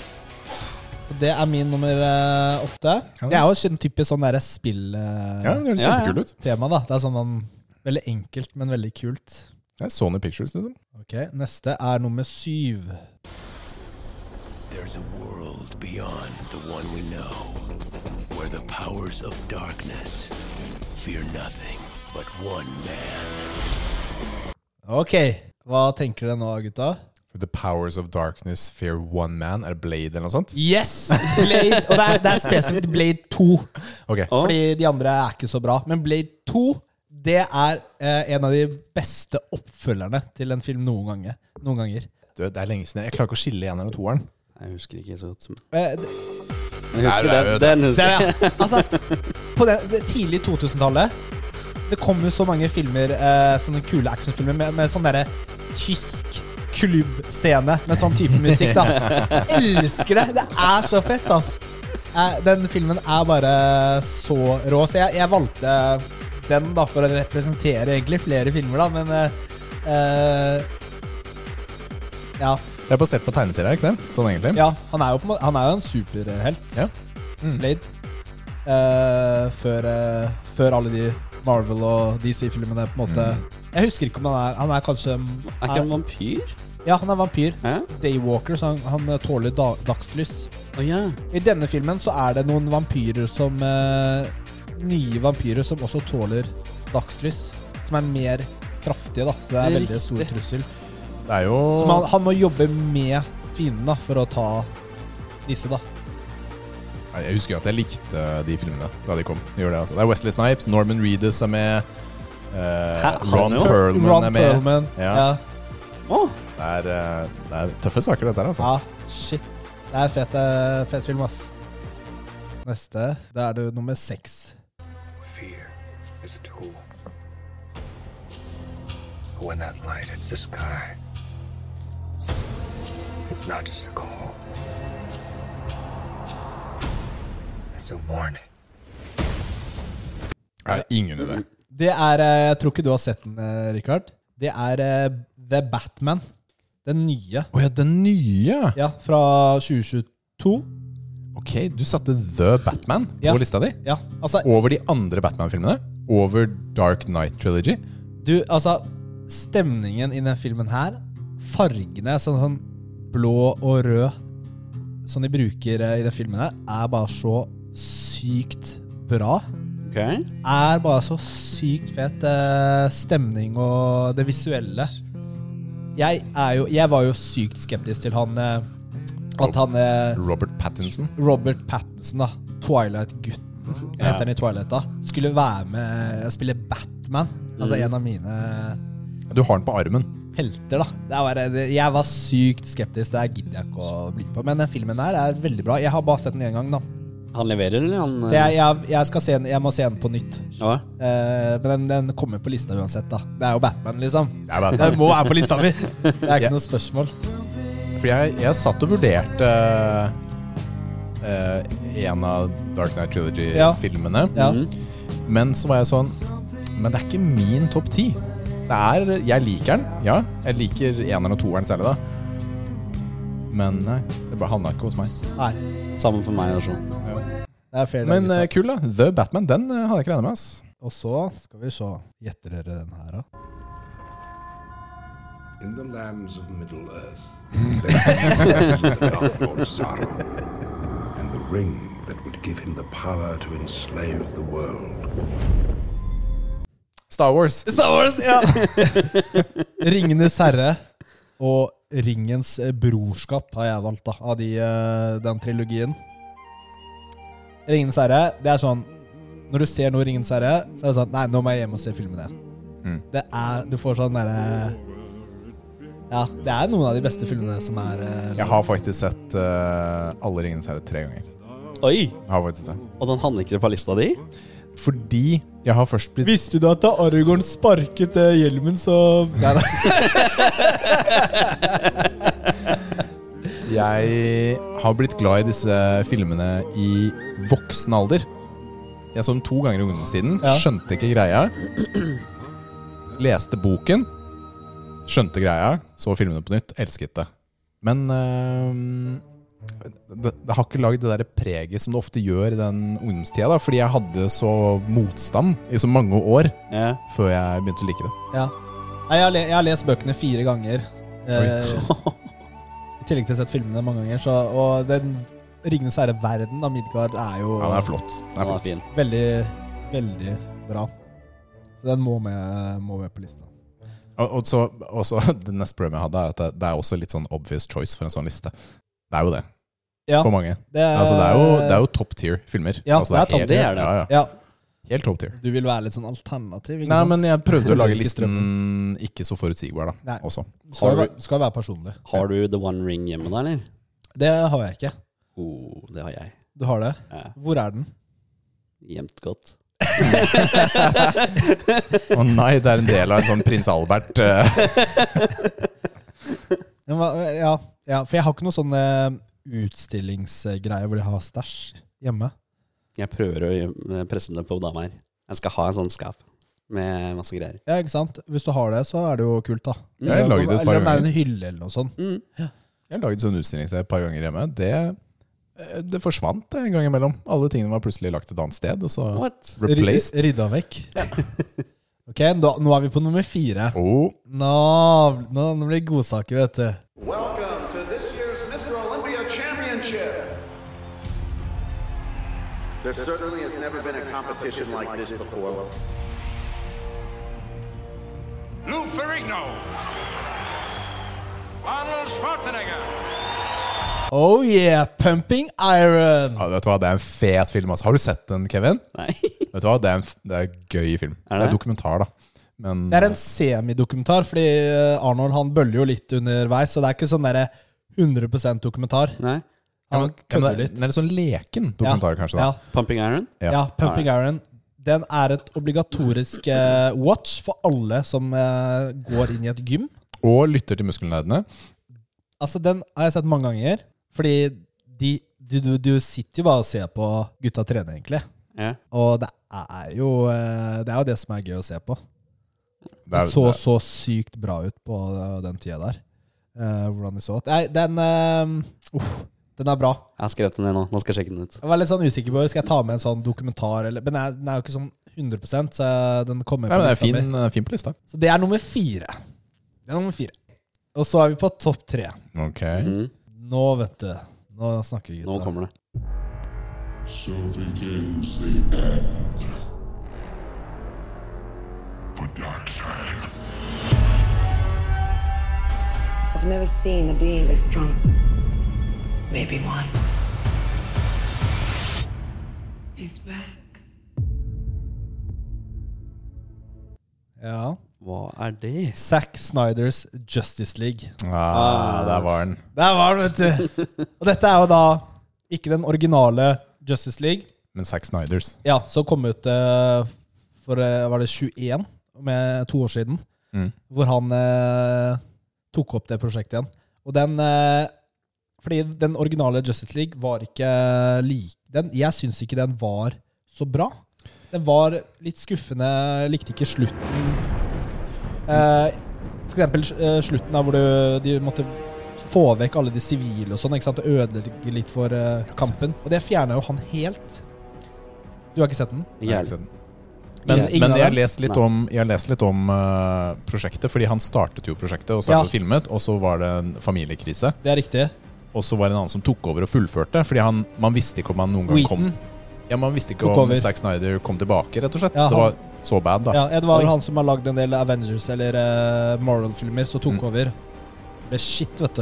Speaker 1: Så det er min nummer eh, åtte. Det er jo sånn typisk sånn derre spilltema,
Speaker 3: Ja, det høres
Speaker 2: Ja, ja.
Speaker 3: kjempekul ut.
Speaker 1: da. Det er sånn man Veldig enkelt, men veldig kult.
Speaker 3: Det er Sony Pictures, liksom.
Speaker 1: Ok, Neste er nummer syv.
Speaker 13: There's a world beyond the one we know, where the powers of darkness fear nothing but one man.
Speaker 1: Ok, hva tenker dere nå, gutta?
Speaker 3: For The Powers of Darkness, Fear One Man. Er det Blade eller noe sånt?
Speaker 1: Yes! Blade, og det er, det er spesifikt Blade 2.
Speaker 3: Ok.
Speaker 1: Fordi de andre er ikke så bra. Men Blade 2 det er eh, en av de beste oppfølgerne til en film noen, gange, noen ganger.
Speaker 3: Du, det er lenge siden. Jeg klarer ikke å skille eneren og toeren.
Speaker 2: Jeg husker ikke så godt.
Speaker 1: Eh, det,
Speaker 2: Men jeg husker
Speaker 3: Nei,
Speaker 2: den.
Speaker 3: det er
Speaker 2: Den
Speaker 1: Det
Speaker 2: husker jeg.
Speaker 1: er, det. altså, på det, det tidlig 2000-tallet Det kom jo så mange filmer eh, Sånne kule actionfilmer med, med sånn derre tysk klubbscene med sånn type musikk, da. Elsker det! Det er så fett, ass. Eh, den filmen er bare så rå. Så jeg, jeg valgte den da for å representere egentlig flere filmer, da, men eh, eh, ja,
Speaker 3: Det er basert på tegneserier, er det ikke det? Sånn egentlig.
Speaker 1: ja. Han er jo, på, en måte- han er jo en superhelt. Mm.
Speaker 3: Ja.
Speaker 1: Blade. Eh, før, eh, før alle de Marvel og DC-filmene, på en måte. Jeg husker ikke om han er Han er kanskje
Speaker 2: Er ikke han vampyr?
Speaker 1: Ja, han er vampyr.
Speaker 2: Ja.
Speaker 1: Daywalker, så han, han tåler da, dagslys.
Speaker 2: Å ja.
Speaker 1: I denne filmen så er det noen vampyrer som eh, Nye vampyrer som også tåler dagslys. Som er mer kraftige, da. Så det er,
Speaker 2: Det er
Speaker 1: veldig stor
Speaker 2: riktig.
Speaker 1: trussel.
Speaker 3: Det er jo
Speaker 1: Så man, han må jobbe med fienden da for å ta disse, da.
Speaker 3: Nei, Jeg husker jo at jeg likte uh, de filmene da de kom. De gjorde det, altså. det er Wesley Snipes, Norman Reedus er med. eh,
Speaker 2: han
Speaker 3: Ron
Speaker 2: er jo-
Speaker 3: Perlman
Speaker 1: Ron
Speaker 3: er med.
Speaker 1: Perlman.
Speaker 3: Ja.
Speaker 1: Ja.
Speaker 2: Å,
Speaker 3: Det, er, eh, det er tøffe saker, dette her. altså.
Speaker 1: Ja, Ah, shit. Det er fet, eh, fet film, ass. Neste. Da er det nummer seks.
Speaker 13: Fear is a tool. When that light hits the sky, it's
Speaker 14: It's not just a call. It's a warning.
Speaker 3: Nei, ingen idé.
Speaker 1: Det er eh, Jeg tror ikke du har sett den, eh, Richard. Det er eh, The Batman. Den nye.
Speaker 3: Å ja, den nye?
Speaker 1: Ja, Fra 2022.
Speaker 3: Ok, du satte The Batman på
Speaker 1: Ja.
Speaker 3: lista di?
Speaker 1: Ja, altså-
Speaker 3: Over de andre Batman-filmene? Over Dark Knight Trilogy?
Speaker 1: Du, altså Stemningen i den filmen her, fargene sånn, sånn blå og rød som de bruker eh, i den filmen her, er bare så sykt bra.
Speaker 2: Ok.
Speaker 1: Er bare så sykt fet eh, stemning og det visuelle. Jeg, er jo, jeg var jo sykt skeptisk til han eh, At han eh,
Speaker 3: Robert Pattinson?
Speaker 1: Robert Pattinson, da. Twilight-gutten. Hva
Speaker 3: Ja.
Speaker 1: Heter han i Twilight, da. Skulle være med og spille Batman. Altså
Speaker 3: Mm.
Speaker 1: en av mine
Speaker 3: Du har den på armen.
Speaker 1: helter, da. Det er bare, det, jeg var sykt skeptisk. Det her gidder jeg ikke å bli med på. Men den filmen her er veldig bra. Jeg har bare sett den én gang, da.
Speaker 2: Han leverer, eller? Han,
Speaker 1: Så jeg, jeg, jeg, skal se den, jeg må se den på nytt.
Speaker 2: Ja.
Speaker 1: Eh, men den, den kommer på lista uansett, da. Det er jo Batman, liksom.
Speaker 3: Det er Batman.
Speaker 1: Den må være på lista mi! Det er ikke
Speaker 3: Ja.
Speaker 1: noe spørsmål.
Speaker 3: For jeg, jeg satt og vurderte eh, en av Dark Knight Trilogy-filmene.
Speaker 1: Ja.
Speaker 3: Men så var jeg sånn Men det er ikke min topp ti. Det er Jeg liker den, ja. Jeg liker eneren og toeren særlig, da. Men nei, det bare havna ikke hos meg.
Speaker 1: Nei.
Speaker 2: Samme for meg. altså. Også.
Speaker 1: Det er fair, det er
Speaker 3: Men
Speaker 1: gutta.
Speaker 3: eh, kul, da. The Batman, den eh, hadde jeg ikke regna med. ass
Speaker 1: Og så skal vi se. Gjetter dere den her, da?
Speaker 15: In the lands of Middle Earth, there was the gospel of sorrow, and the ring that would give him the power to enslave the world.
Speaker 3: Star Wars.
Speaker 1: Star Wars, ja. Ringenes herre og Ringens brorskap har jeg valgt, da, av de, eh, den trilogien. Ringenes herre, det er sånn Når du ser noe Ringenes herre, så er det sånn Nei, nå må jeg hjem og se filmen igjen.
Speaker 3: Mm.
Speaker 1: Det er Du får sånn derre Ja, det er noen av de beste filmene som er eh,
Speaker 3: Jeg har faktisk sett eh, alle Ringenes herre tre ganger.
Speaker 2: Oi!
Speaker 3: Jeg har faktisk det.
Speaker 2: Og den havner ikke på lista di?
Speaker 3: Fordi jeg har først blitt
Speaker 1: Visste du at da Aragorn sparket eh, hjelmen, så Nei, nei.
Speaker 3: Jeg har blitt glad i disse filmene i voksen alder. Jeg så dem to ganger i ungdomstiden,
Speaker 1: Ja.
Speaker 3: skjønte ikke greia. Leste boken, skjønte greia, så filmene på nytt, elsket det. Men eh, det, det har ikke lagd det der preget som det ofte gjør i den ungdomstida, da, fordi jeg hadde så motstand i så mange år før jeg begynte å like det.
Speaker 1: Ja. Nei, jeg, har le jeg har lest bøkene fire ganger. Eh, I tillegg til å ha sett filmene mange ganger. Så, og den 'Ringenes herre'-verden av Midgard er jo
Speaker 3: Ja, den er flott. Den er Den er flott. fin.
Speaker 1: Veldig, veldig bra. Så den må med, må med på lista.
Speaker 3: Og, og så, og så Det neste problemet jeg hadde, er at det, det er også litt sånn obvious choice for en sånn liste. Det er jo det.
Speaker 1: Ja.
Speaker 3: For mange.
Speaker 1: Det er-
Speaker 3: altså, det, er jo, det er jo top tier filmer.
Speaker 1: Ja,
Speaker 3: altså,
Speaker 1: det er top
Speaker 3: helt-
Speaker 1: tier.
Speaker 3: Ja, ja.
Speaker 1: Ja.
Speaker 3: Helt top tier.
Speaker 1: Du vil være litt sånn alternativ? Ikke
Speaker 3: Nei,
Speaker 1: sant?
Speaker 3: men jeg prøvde å lage
Speaker 1: Ikke
Speaker 3: listen ikke så forutsigbar, da.
Speaker 1: Nei.
Speaker 3: Også.
Speaker 1: Skal, jo være- skal jo være personlig.
Speaker 2: Har du The One Ring hjemme der, eller?
Speaker 1: Det har jeg ikke.
Speaker 2: Oh, det har jeg.
Speaker 1: Du har det?
Speaker 2: Ja.
Speaker 1: Hvor er den?
Speaker 2: Gjemt godt.
Speaker 3: Å nei, det er en del av en sånn prins Albert eh.
Speaker 1: Den var, ja, ja, for jeg har ikke noe sånn eh, utstillingsgreie hvor jeg har stæsj hjemme.
Speaker 2: Jeg prøver å eh, presse det på dama her. Jeg skal ha en sånn skap med masse greier.
Speaker 1: Ja, ikke sant? Hvis du har det, så er det jo kult, da.
Speaker 3: Mm. Jeg har laget det et par
Speaker 1: Eller om det er en
Speaker 3: ganger. Mm.
Speaker 1: hylle eller noe sånt.
Speaker 3: Jeg har laget sånn utstillingsserie et par ganger hjemme. Det, eh, det forsvant en gang imellom. Alle tingene var plutselig lagt et annet sted, og så replaced.
Speaker 1: Ry- Rydda vekk. ok, da, nå er vi på nummer fire.
Speaker 3: Oh.
Speaker 1: Nå, nå, nå blir det godsaker, vet du.
Speaker 16: Welcome to this year's Mr. Olympia Championship. There certainly has never been a competition like this before.
Speaker 17: Lou Ferrigno. Arnold Schwarzenegger.
Speaker 1: Oh yeah, Pumping Iron.
Speaker 3: Ja, vet du hva, Det er en fet film. Altså. Har du sett den, Kevin?
Speaker 2: Nei.
Speaker 3: Vet du hva, Det er en, f- det er en gøy film.
Speaker 2: Er det?
Speaker 3: det? er dokumentar, da. Men
Speaker 1: Det er en semidokumentar, fordi eh, Arnold han bøller jo litt underveis, så det er ikke sånn derre 100 dokumentar.
Speaker 2: Nei.
Speaker 3: Ja,
Speaker 1: Han
Speaker 3: men- ja, men
Speaker 1: kødder
Speaker 3: det er-
Speaker 1: litt.
Speaker 3: Den er litt sånn leken dokumentar,
Speaker 1: Ja,
Speaker 3: kanskje.
Speaker 1: ja.
Speaker 3: da
Speaker 2: Pumping Iron?
Speaker 1: Ja, Pumping Iron. Den er et obligatorisk eh, watch for alle som eh, går inn i et gym.
Speaker 3: Og lytter til Muskelnerdene.
Speaker 1: Altså, den har jeg sett mange ganger. Fordi de, du, du, du sitter jo bare og ser på gutta trene, egentlig.
Speaker 2: Ja.
Speaker 1: Og det er, jo, eh, det er jo det som er gøy å se på.
Speaker 3: Det
Speaker 1: Det
Speaker 3: er-
Speaker 1: så
Speaker 3: det er-
Speaker 1: så sykt bra ut på eh, den tida der. Eh, hvordan de så ut. Nei, den eh, uff, Den er bra.
Speaker 2: Jeg har skrevet den ned nå. Nå skal jeg sjekke den ut.
Speaker 1: Jeg var litt sånn usikker på Skal jeg ta med en sånn dokumentar, eller Men jeg- den er jo ikke sånn 100 så jeg- den kommer på
Speaker 3: Nei, men det er
Speaker 1: lista mi.
Speaker 3: fin, eh, fin på lista.
Speaker 1: Så det er nummer fire. Det er nummer fire. Og så er vi på topp tre.
Speaker 3: Ok.
Speaker 1: Nå, vet du. Nå snakker vi, gutta.
Speaker 2: Nå kommer det.
Speaker 5: So begins the end. For Darkseid.
Speaker 18: I've never seen a being this strong. Maybe one.
Speaker 8: He's back.
Speaker 1: Ja.
Speaker 2: Hva er det?
Speaker 1: Zack Snyders Justice League.
Speaker 3: Ah, der var den.
Speaker 1: Der var den, vet du. Og dette er jo da ikke den originale Justice League.
Speaker 3: Men Zack Snyders.
Speaker 1: Ja, så kom ut eh, for eh, var det 21, med to år siden,
Speaker 3: Mm.
Speaker 1: hvor han eh, tok opp det prosjektet igjen. Og den eh, Fordi den originale Justice League var ikke eh, lik den. Jeg syns ikke den var så bra. Den var litt skuffende, jeg likte ikke slutten. Eh, for eksempel eh, slutten der hvor du, de måtte få vekk alle de sivile og sånn, ikke sant? og ødelegge litt for eh, kampen. Og det fjerna jo han helt. Du har ikke sett den?
Speaker 3: Nei, jeg har ikke sett den. Men,
Speaker 1: Men ingen
Speaker 3: men
Speaker 1: av
Speaker 3: jeg, har
Speaker 1: dem?
Speaker 3: lest litt
Speaker 1: Nei.
Speaker 3: om, jeg har lest litt om eh, prosjektet, fordi han startet jo prosjektet og startet
Speaker 1: Ja.
Speaker 3: og filmet, og så var det en familiekrise.
Speaker 1: Det er riktig.
Speaker 3: Og så var det en annen som tok over og fullførte, fordi han, man visste ikke om han noen gang
Speaker 1: Wheaton.
Speaker 3: kom. Ja, man visste ikke
Speaker 1: Tok
Speaker 3: om
Speaker 1: over.
Speaker 3: Zack Snyder kom tilbake, rett og slett.
Speaker 1: Ja,
Speaker 3: det
Speaker 1: han-
Speaker 3: var så bad, da.
Speaker 1: Ja, ja, det var vel
Speaker 3: Oi.
Speaker 1: han som har lagd en del Avengers eller eh, Marvel-filmer, som
Speaker 3: Mm.
Speaker 1: tok over. Det er shit, vet du.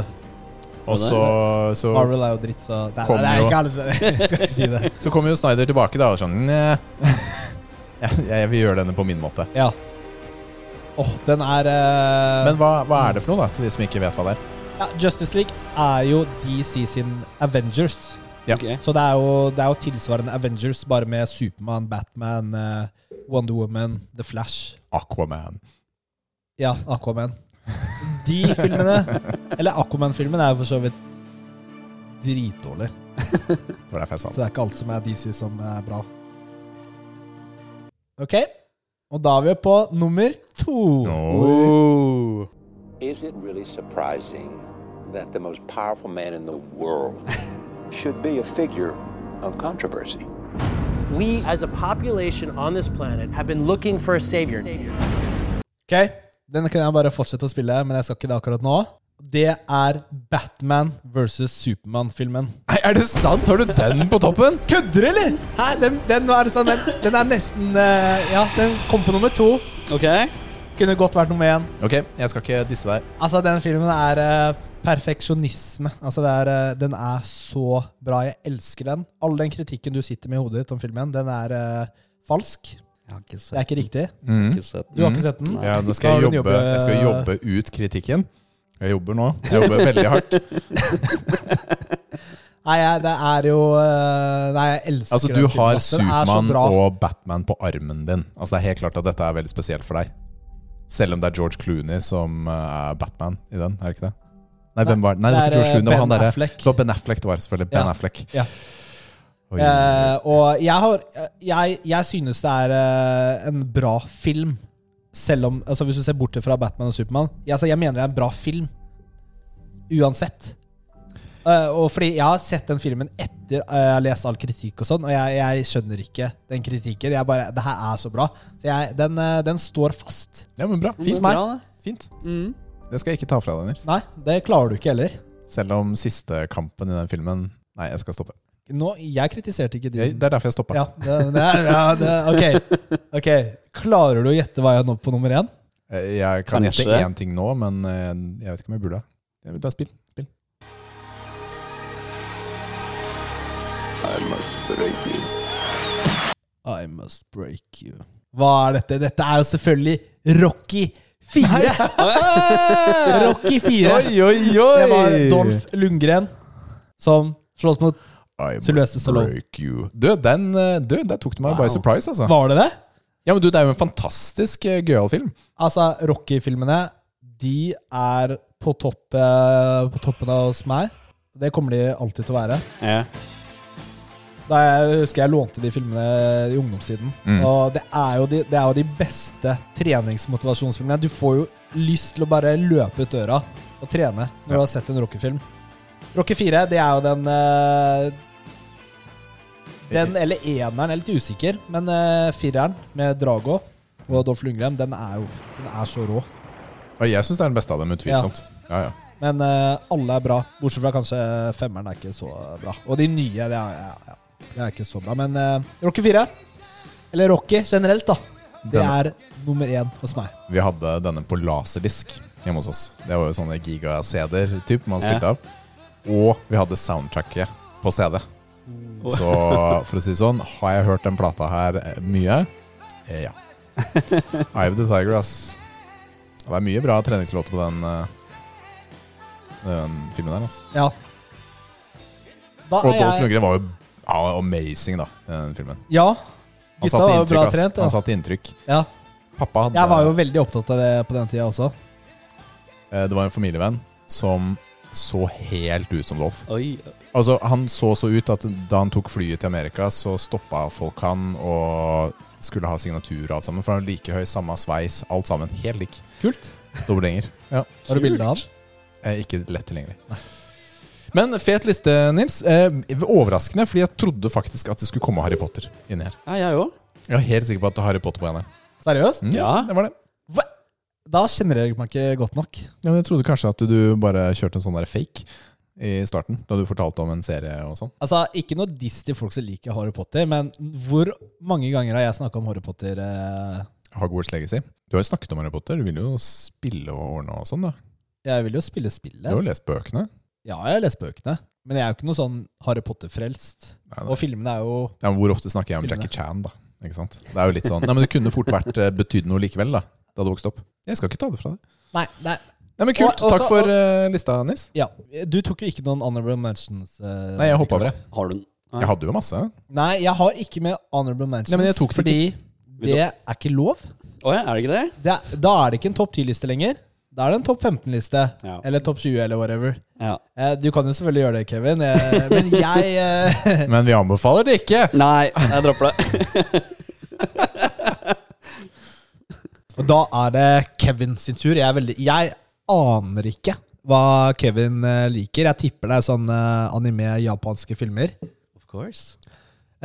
Speaker 3: Og så- så-
Speaker 1: Marvel er jo dritt, så Nei,
Speaker 3: Kom
Speaker 1: nei, det er
Speaker 3: jo-
Speaker 1: ikke alle som- jeg skal ikke si det.
Speaker 3: Så kommer jo Snyder tilbake da og sånn «Nja, jeg, jeg vil gjøre denne på min måte.
Speaker 1: Ja. Åh, den er eh,
Speaker 3: Men hva, hva er det for noe, da, til de som ikke vet hva det er?
Speaker 1: ja, Justice League er jo DC sin Avengers.
Speaker 3: Ja.
Speaker 1: Så det er, jo, det er jo tilsvarende Avengers, bare med Supermann, Batman, eh, Wonder Woman, The Flash.
Speaker 3: Aquaman.
Speaker 1: Ja, Aquaman. De filmene Eller Aquaman-filmen er jo for så vidt dritdårlig.
Speaker 3: Det var derfor jeg
Speaker 1: Så
Speaker 3: sa det.
Speaker 1: det er ikke alt som er DC som er bra. Ok, og da er vi på nummer to.
Speaker 19: Is it really surprising that the most powerful man in the world should be a figure of controversy?
Speaker 20: We, as a population on this planet, have been looking for a savior.
Speaker 1: Ok, Den kan jeg bare fortsette å spille, men jeg skal ikke det akkurat nå. Det er Batman versus Supermann-filmen.
Speaker 3: Nei, Er det sant? Har du den på toppen?
Speaker 1: Kødder du, eller?! Hæ, den, den, er sånn, den, den er nesten eh, Ja, den kom på nummer to.
Speaker 2: Ok
Speaker 1: Kunne godt vært nummer én.
Speaker 3: Ok, jeg skal ikke disse deg.
Speaker 1: Altså, den filmen er eh, perfeksjonisme. Altså, det er, eh, den er så bra. Jeg elsker den. All den kritikken du sitter med i hodet ditt om filmen, den er eh, falsk. det er ikke riktig.
Speaker 3: Mhm. Ikke sett
Speaker 1: Du har
Speaker 3: Mhm.
Speaker 1: ikke sett den?
Speaker 3: Ja, nå
Speaker 1: Da
Speaker 3: skal
Speaker 1: har
Speaker 3: jeg,
Speaker 1: du
Speaker 3: jobbe, jeg skal jobbe ut kritikken. Jeg jobber nå. Jeg jobber veldig hardt.
Speaker 1: Nei, jeg, det er jo eh, Nei, jeg elsker
Speaker 3: Altså,
Speaker 1: den
Speaker 3: du
Speaker 1: filmen,
Speaker 3: har
Speaker 1: ass. Den er så
Speaker 3: Supermann
Speaker 1: bra.
Speaker 3: og Batman på armen din. Altså, det er helt klart at dette er veldig spesielt for deg. Selv om det er George Clooney som eh, er Batman i den, er det ikke det? Nei, hvem var Nei, det var
Speaker 1: det
Speaker 3: ikke
Speaker 1: er,
Speaker 3: George
Speaker 1: eh,
Speaker 3: Clooney, det var han
Speaker 1: Ben
Speaker 3: derre
Speaker 1: Affleck.
Speaker 3: Det var Ben Affleck, det var selvfølgelig. Ben
Speaker 1: Ja.
Speaker 3: Affleck.
Speaker 1: Ja.
Speaker 3: Oi.
Speaker 1: Eh, og jeg, har, jeg, jeg synes det er eh, en bra film. Selv om, altså Hvis du ser bort fra Batman og Supermann. Jeg, altså, jeg mener det er en bra film. Uansett. Eh, og fordi Jeg har sett den filmen etter eh, jeg har lest all kritikk, og sånn Og jeg, jeg skjønner ikke den kritikken. Jeg bare, Det her er så bra. Så jeg, den, eh, den står fast.
Speaker 3: Ja, men bra. Fint.
Speaker 1: Hos meg.
Speaker 3: Fint. Det skal jeg ikke ta fra deg, Nils.
Speaker 1: Mm. Nei, det klarer du ikke heller.
Speaker 3: Selv om siste kampen i den filmen Nei, jeg skal stoppe.
Speaker 1: Nå, jeg kritiserte ikke
Speaker 3: Jeg,
Speaker 1: din.
Speaker 3: det er derfor jeg stoppa.
Speaker 1: Mm. Ja, det, det er, ja det, ok. ok. Klarer du å gjette hva jeg er nå på nummer én?
Speaker 3: Jeg, Eh, jeg kan gjette
Speaker 1: Kanskje.
Speaker 3: én ting nå, men eh, jeg vet ikke om jeg burde. Jeg vil ta spill. spill.
Speaker 10: I must break you.
Speaker 1: I must break you. Hva er dette? Dette er jo selvfølgelig Rocky 4! Rocky 4.
Speaker 3: Oi, oi, oi.
Speaker 1: Det var Dolph Lundgren som slåss mot
Speaker 3: I
Speaker 1: Sylvester Stallone.
Speaker 3: break you. Du, den, eh, du, der tok du meg by surprise, altså.
Speaker 1: Var det det?
Speaker 3: Ja, men du, Det er jo en fantastisk eh, gøyal film.
Speaker 1: Altså, Rocky-filmene, de er på, topp, eh, på toppen av hos meg. Det kommer de alltid til å være.
Speaker 2: Ja.
Speaker 1: Da jeg husker jeg lånte de filmene i ungdomstiden.
Speaker 2: Mm.
Speaker 1: Og det er, jo de, det er jo de beste treningsmotivasjonsfilmene. Du får jo lyst til å bare løpe ut døra og trene når du har sett en rockefilm. Rocky 4, det er jo den eh, Den eller eneren, jeg er litt usikker, men eh, fireren med Drago og Dolph Lundgren, den er jo den er så rå.
Speaker 3: Og jeg syns det er den beste av dem, utvilsomt. Ja, ja.
Speaker 1: Men eh, alle er bra, bortsett fra kanskje femmeren er ikke så bra. Og de nye, det er, ja, ja, det er ikke så bra. Men eh, Rocky 4, eller Rocky generelt, da, det
Speaker 3: Den-
Speaker 1: er nummer én hos meg.
Speaker 3: Vi hadde denne på laserdisk hjemme hos oss. Det var jo sånne giga-CD-er typ man
Speaker 1: Ja.
Speaker 3: spilte av. Og vi hadde soundtracket på CD. Så for å si det sånn, har jeg hørt den plata her eh, mye? Eh, Ja. Eye of the Tiger, ass. Det er mye bra treningslåter på den, eh, den filmen der, ass.
Speaker 1: Ja. Hva
Speaker 3: Og
Speaker 1: er
Speaker 3: Dolph
Speaker 1: jeg-
Speaker 3: Lundgren var jo ja, amazing, da, i den filmen.
Speaker 1: Ja.
Speaker 3: Han
Speaker 1: Gutta
Speaker 3: satte
Speaker 1: var jo
Speaker 3: inntrykk,
Speaker 1: bra
Speaker 3: ass.
Speaker 1: trent.
Speaker 3: Han
Speaker 1: Ja.
Speaker 3: satte inntrykk.
Speaker 1: Ja.
Speaker 3: Pappa hadde
Speaker 1: Jeg var jo veldig opptatt av det på den tida også.
Speaker 3: Eh, Det var en familievenn som så helt ut som Dolph. Altså, han så så ut at da han tok flyet til Amerika, så stoppa folk han og skulle ha signatur og alt sammen. For han var like høy, samme sveis, alt sammen. Helt lik.
Speaker 1: Kult.
Speaker 3: Dobbeltgjenger. Ja.
Speaker 1: Har du bilde av han?
Speaker 3: Eh, ikke lett tilgjengelig. Men fet liste, Nils. Eh, overraskende, fordi jeg trodde faktisk at det skulle komme Harry Potter inni her.
Speaker 2: Ja, jeg òg.
Speaker 3: Jeg er helt sikker på at det er Harry Potter på henne.
Speaker 1: Seriøst?
Speaker 3: Mm, Ja, det var det.
Speaker 1: Da kjenner jeg meg ikke godt nok.
Speaker 3: Ja, men jeg trodde kanskje at du bare kjørte en sånn der fake i starten, da du fortalte om en serie og sånn.
Speaker 1: Altså, Ikke noe diss til folk som liker Harry Potter, men hvor mange ganger har jeg snakka om Harry Potter? Eh,
Speaker 3: Hogwarts Legacy. Du har jo snakket om Harry Potter, du vil jo spille og ordne og sånn, da.
Speaker 1: jeg vil jo spille
Speaker 3: Du
Speaker 1: spillet.
Speaker 3: har jo lest bøkene.
Speaker 1: Ja, jeg har lest bøkene. Men jeg er jo ikke noe sånn Harry Potter-frelst. Og filmene er jo
Speaker 3: Ja, men hvor ofte snakker jeg om
Speaker 1: Filmene.
Speaker 3: Jackie Chan, da? Ikke sant? Det er jo litt sånn Nei, men det kunne fort vært eh, betydd noe likevel, da. Da du vokste opp. Jeg skal ikke ta det fra deg.
Speaker 1: Nei, nei.
Speaker 3: Nei, men kult.
Speaker 1: Og- og
Speaker 3: Takk
Speaker 1: så-
Speaker 3: for
Speaker 1: og-
Speaker 3: eh, lista, Nils.
Speaker 1: Ja. Du tok jo ikke noen honorable mentions. eh,
Speaker 3: Nei, jeg hoppa over det.
Speaker 2: Har du den?
Speaker 3: Jeg hadde jo masse.
Speaker 1: Nei, jeg har ikke med honorable mentions.
Speaker 3: Nei, men jeg tok det
Speaker 1: fordi
Speaker 3: ikke.
Speaker 1: det er ikke lov.
Speaker 2: Å ja, er det ikke det?
Speaker 1: Det er, da er det ikke en topp 10-liste lenger. Da er det en topp 15-liste. Eller topp 20, eller whatever. Eh, Du kan jo selvfølgelig gjøre det, Kevin, eh, men jeg eh,
Speaker 3: Men vi anbefaler det ikke!
Speaker 2: Nei, jeg dropper det.
Speaker 1: Og da er det Kevin sin tur. Jeg, er veldig, jeg aner ikke hva Kevin eh, liker. Jeg tipper det er sånn eh, anime, japanske filmer.
Speaker 2: Of course.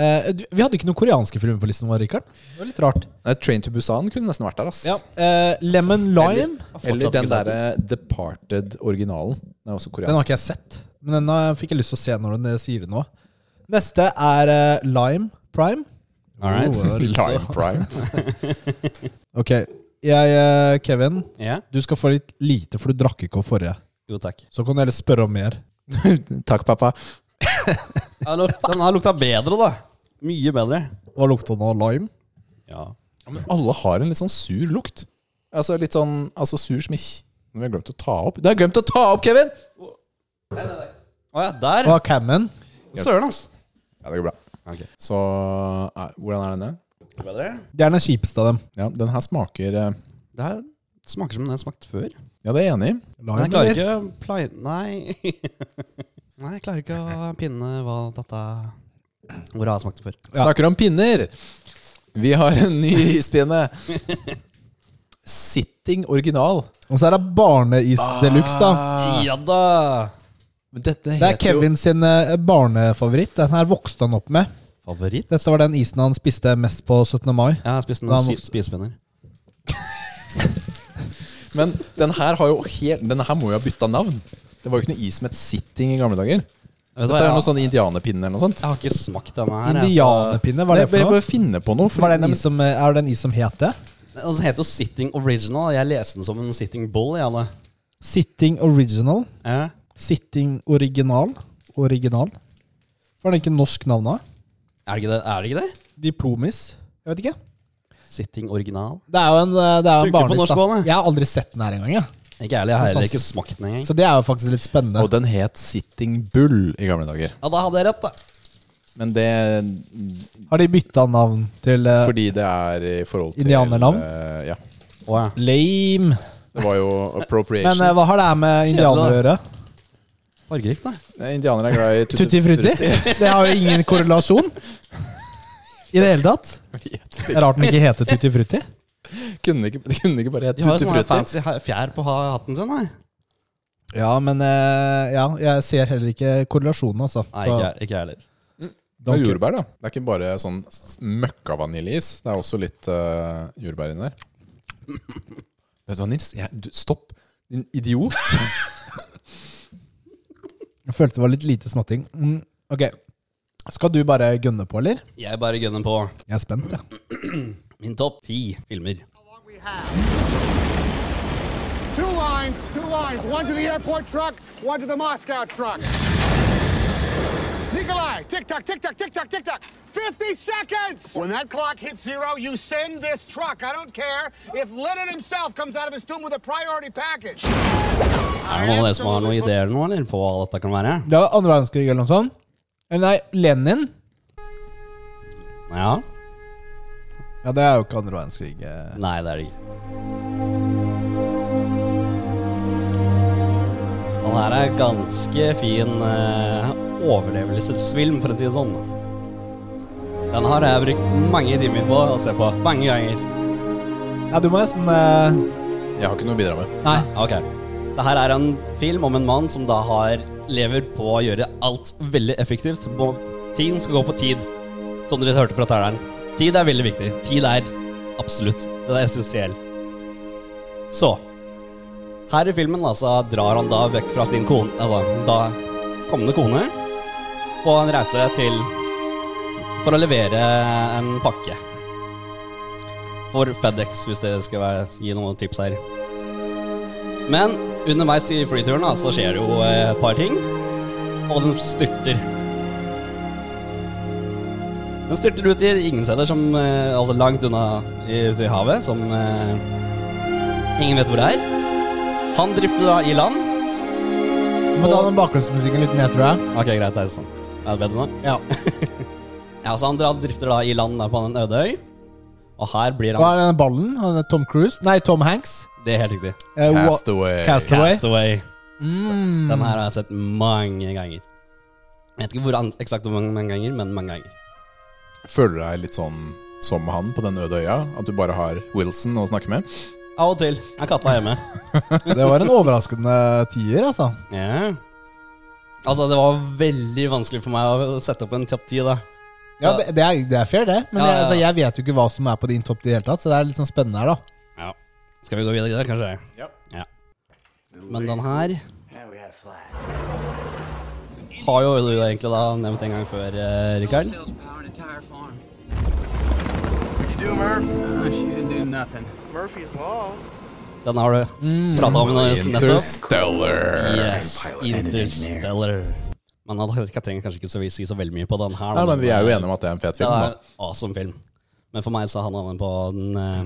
Speaker 1: Eh, du, vi hadde ikke noen koreanske filmer på listen vår, Rikard. Det var litt rart.
Speaker 3: Nei, Train to Busan kunne nesten vært der, ass.
Speaker 1: Eh, Lemon Lime.
Speaker 3: Eller, eller den derre Departed-originalen. Den er også koreansk.
Speaker 1: Den har ikke jeg sett, men den eh, fikk jeg lyst til å se når den eh, sier det nå. Neste er eh, Lime Prime.
Speaker 2: All right.
Speaker 1: Oh, det var
Speaker 2: Lime
Speaker 1: litt-
Speaker 2: Prime.
Speaker 1: ok, jeg, eh, Kevin,
Speaker 2: Ja?
Speaker 1: du skal få litt lite, for du drakk ikke opp forrige.
Speaker 2: Jo, takk.
Speaker 1: Så kan du heller spørre om mer.
Speaker 3: Takk, pappa.
Speaker 2: Ja, lukt- Den her lukta bedre, da. Mye bedre.
Speaker 1: Hva lukta nå? Lime?
Speaker 2: Ja.
Speaker 3: Ja, men alle har en litt sånn sur lukt. Altså litt sånn altså sur som ikke Men vi har glemt å ta opp. Du har glemt å ta opp, Kevin!
Speaker 2: Å ja, der.
Speaker 1: Hva er cammen?
Speaker 2: Søren, ass.
Speaker 3: Ja, det går bra. Så eh, hvordan er denne?
Speaker 2: Bedre?
Speaker 1: Det er den kjipeste av dem.
Speaker 3: Ja, den her smaker eh,
Speaker 2: Det her smaker som den har smakt før.
Speaker 3: Ja, det er jeg enig i.
Speaker 2: Men jeg klarer ikke å plai... Nei. Nei, jeg klarer ikke å pinne hva dette Hvor har jeg smakt det før?
Speaker 3: Snakker om pinner! Vi har en ny ispinne. Sitting original.
Speaker 1: Og så er det barneis deluxe, da.
Speaker 2: Ja da!
Speaker 3: Men dette
Speaker 1: Det er
Speaker 3: heter jo
Speaker 1: Kevin sin eh, barnefavoritt. Den her vokste han opp med.
Speaker 2: Favoritt?
Speaker 1: Dette var den isen han spiste mest på 17. mai.
Speaker 2: Ja, jeg spiste
Speaker 1: Da
Speaker 2: noen
Speaker 1: han
Speaker 2: si-
Speaker 1: vokste-
Speaker 2: spisepinner.
Speaker 3: Men den her har jo helt Den her må jo ha bytta navn. Det var jo ikke noe is som het sitting i gamle dager.
Speaker 2: Vet du
Speaker 3: Dette
Speaker 2: hva,
Speaker 3: er jo
Speaker 2: jeg-
Speaker 3: noe sånn indianerpinne eller noe sånt.
Speaker 2: Jeg har ikke smakt denne her. jeg, så-
Speaker 1: Indianerpinne, hva er det
Speaker 3: Nei,
Speaker 1: for
Speaker 3: bare-
Speaker 1: noe?
Speaker 3: bare finne på noe, for-
Speaker 1: Var det
Speaker 3: Nei,
Speaker 1: en
Speaker 3: men-
Speaker 1: is som, eh, er det en is som het det?
Speaker 2: Den heter jo Sitting Original. Jeg leste den som en Sitting Bull. Jeg, alle.
Speaker 1: Sitting Original.
Speaker 2: Ja.
Speaker 1: Sitting Original. Original. Var det ikke norsk navn av?
Speaker 2: Er, det ikke det? er det ikke det?
Speaker 1: Diplomis. Jeg vet ikke.
Speaker 2: Sitting Original.
Speaker 1: Det er jo en, eh, det er jo en
Speaker 2: Funker på
Speaker 1: barneis.
Speaker 2: norsk
Speaker 1: da.
Speaker 2: også,
Speaker 1: Jeg har aldri sett den her engang. jeg.
Speaker 2: Ikke ærlig, jeg har heller
Speaker 1: Sånn-
Speaker 2: ikke smakt den engang.
Speaker 1: Så det er jo faktisk litt spennende.
Speaker 3: Og den het Sitting Bull i gamle dager.
Speaker 2: Ja, da hadde jeg rett, da.
Speaker 3: Men det
Speaker 1: Har de bytta navn til eh,
Speaker 3: Fordi det er i forhold til
Speaker 1: Indianernavn?
Speaker 3: eh, ja.
Speaker 2: Oh, ja.
Speaker 1: Lame.
Speaker 3: Det var jo appropriation.
Speaker 1: Men eh, hva har det her med indianere å gjøre?
Speaker 2: Fargerikt, da.
Speaker 3: Nei, Eh, Indianere er glad i tutti,
Speaker 1: Tutti frutti? Det har jo ingen korrelasjon. I det hele tatt. Det er rart den ikke heter tutti frutti.
Speaker 3: Kunne ikke, det kunne ikke bare hett
Speaker 2: De har jo
Speaker 3: tutti
Speaker 2: sånne
Speaker 3: frutti.
Speaker 2: fancy ha- fjær på ha- hatten sin, nei.
Speaker 1: Ja, men eh, ja, jeg ser heller ikke korrelasjonen, altså.
Speaker 2: Nei,
Speaker 1: Så-
Speaker 2: ikke jeg- ikke jeg heller.
Speaker 3: Det er jordbær, da. Det er ikke bare sånn s- møkka vaniljeis. Det er også litt eh, jordbær inni der. Vet du hva, Nils? Jeg, du, stopp, din idiot.
Speaker 1: Jeg følte det var litt lite smatting. Mm, ok. Skal du bare gønne på, eller?
Speaker 2: Jeg bare gunner på.
Speaker 1: Jeg er spent, jeg.
Speaker 2: Min topp ti filmer.
Speaker 21: Two lines, two lines. One to the airport truck, one to the Moscow truck. Nikolai, tick tock, tick tock, tick tock, tick tock. 50 seconds! When that clock hits zero, you send this truck. I don't care if Lenin himself comes out of his tomb with a priority package.
Speaker 2: Er det noen av dere som har noen ideer nå, eller, på hva dette kan være?
Speaker 1: Det var andre verdenskrig eller noe sånt. Eller nei, Lenin.
Speaker 2: Ja?
Speaker 1: Ja, det er jo ikke andre verdenskrig. eh.
Speaker 2: Nei, det er det ikke. Den her er ganske fin eh, overlevelsesfilm, for å si det sånn. Den har jeg brukt mange timer på å se på. Mange ganger.
Speaker 1: Ja, du må nesten eh,
Speaker 3: Jeg har ikke noe å bidra med.
Speaker 1: Nei.
Speaker 2: Ok. Det her er en film om en mann som da har lever på å gjøre alt veldig effektivt. Må- Ting skal gå på tid, som dere hørte fra terneren. Tid er veldig viktig. Tid er absolutt. Den er essensiell. Så Her i filmen altså, drar han da vekk fra sin kone Altså da kommende kone på en reise til For å levere en pakke. For FedEx, hvis det skal være, gi noen tips her. Men underveis i flyturen da, så skjer det jo eh, et par ting. Og den styrter. Den styrter ut i ingen steder, som, eh, altså langt unna i, ute i havet, som eh, ingen vet hvor det er. Han drifter da i land.
Speaker 1: Du må ta den bakgrunnsmusikken litt ned, tror jeg.
Speaker 2: Ok, greit, det er sånn. Er det bedre nå?
Speaker 1: Ja.
Speaker 2: Ja, så han drar- drifter da i land der på den øde øy. Og her blir
Speaker 1: Hva
Speaker 2: han
Speaker 1: er denne ballen? Han er Tom Cruise? Nei, Tom Hanks.
Speaker 2: Det er helt riktig.
Speaker 1: Eh, wha-
Speaker 3: Castaway.
Speaker 1: Castaway.
Speaker 2: Castaway.
Speaker 1: Mm.
Speaker 2: Den her har jeg sett mange ganger. Jeg vet ikke hvor an- eksakt hvor mange, mange ganger, men mange ganger.
Speaker 3: Føler du deg litt sånn som han på den øde øya? At du bare har Wilson å snakke med?
Speaker 2: Av og til er katta hjemme.
Speaker 1: Det var en overraskende tier, altså.
Speaker 2: Ja. Altså, det var veldig vanskelig for meg å sette opp en topp ti, da.
Speaker 1: Ja, det, det, er, det er fair, det. Men
Speaker 2: Ja,
Speaker 1: jeg,
Speaker 2: ja,
Speaker 1: altså,
Speaker 2: ja.
Speaker 1: jeg vet jo ikke hva som er på din topp i det hele tatt, så det er litt sånn spennende her, da.
Speaker 2: Ja. Skal vi gå videre der, kanskje?
Speaker 3: Ja.
Speaker 2: Men den her har jo du egentlig da nevnt en gang før, eh, Rikard.
Speaker 9: Do Murph? she didn't do nothing. Murphy's Law.
Speaker 2: Den har du pratet om nå just nettopp.
Speaker 3: Mm. Interstellar.
Speaker 2: Yes, Interstellar. Men han hadde- jeg trenger kanskje ikke så si så veldig mye på den her.
Speaker 3: Nei, men vi er jo enige om at det er en fet film,
Speaker 2: Ja, det er
Speaker 3: da.
Speaker 2: en awesome film. Men for meg så handler den på den eh,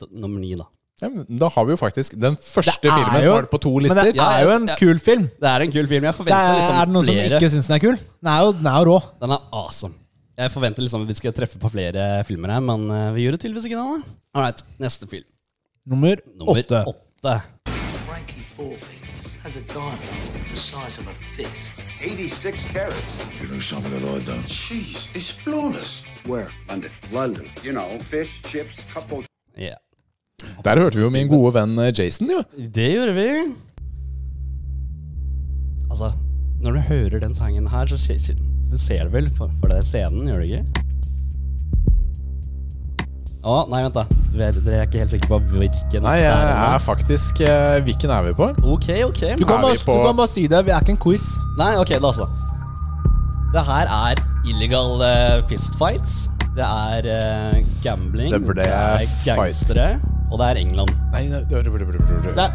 Speaker 2: d- nummer ni, da.
Speaker 3: Ja, men da har vi jo faktisk den første
Speaker 1: er
Speaker 3: filmen som
Speaker 1: jo-
Speaker 3: var på to
Speaker 1: men det
Speaker 3: lister.
Speaker 1: er jo en kul film.
Speaker 2: Det er en kul film. Jeg
Speaker 1: Det
Speaker 2: forventer
Speaker 1: er,
Speaker 2: liksom
Speaker 1: er det noen
Speaker 2: flere.
Speaker 1: som ikke syns den er kul? Den er jo, den er jo rå.
Speaker 2: Den er awesome. Jeg forventer liksom at vi skal treffe på flere filmer her, men eh, vi gjør det tydeligvis ikke det, da. All right, neste film.
Speaker 1: Nummer
Speaker 2: Nummer
Speaker 1: åtte.
Speaker 2: åtte.
Speaker 14: Frankie Four Fingers has a diamond the size of a fist.
Speaker 16: 86 carats.
Speaker 13: You know something that I don't.
Speaker 16: Jeez, it's flawless.
Speaker 13: Where? London. London.
Speaker 16: You know, fish, chips, couple.
Speaker 2: Yeah.
Speaker 3: Der hørte vi jo min gode venn eh, Jason, jo.
Speaker 2: Det gjorde vi. Altså, når du hører den sangen her, så ser du ser det vel for, for det er scenen, gjør du ikke? Å, nei, vent da. Dere dere er ikke helt sikre på hvilken
Speaker 3: Nei,
Speaker 2: det
Speaker 3: jeg
Speaker 2: nå.
Speaker 3: er faktisk eh, Hvilken er vi på?
Speaker 2: Ok, ok.
Speaker 1: Du kan,
Speaker 3: Er
Speaker 1: bare,
Speaker 3: vi på-
Speaker 1: du kan bare si det. Vi er ikke en quiz.
Speaker 2: Nei, ok, da så. Det her er illegal eh, fistfights. Det er eh, gambling.
Speaker 3: Det ble fight.
Speaker 2: gangstere. Og det er England.
Speaker 3: Nei, nei, det- det- det- det- det- det-
Speaker 1: Der.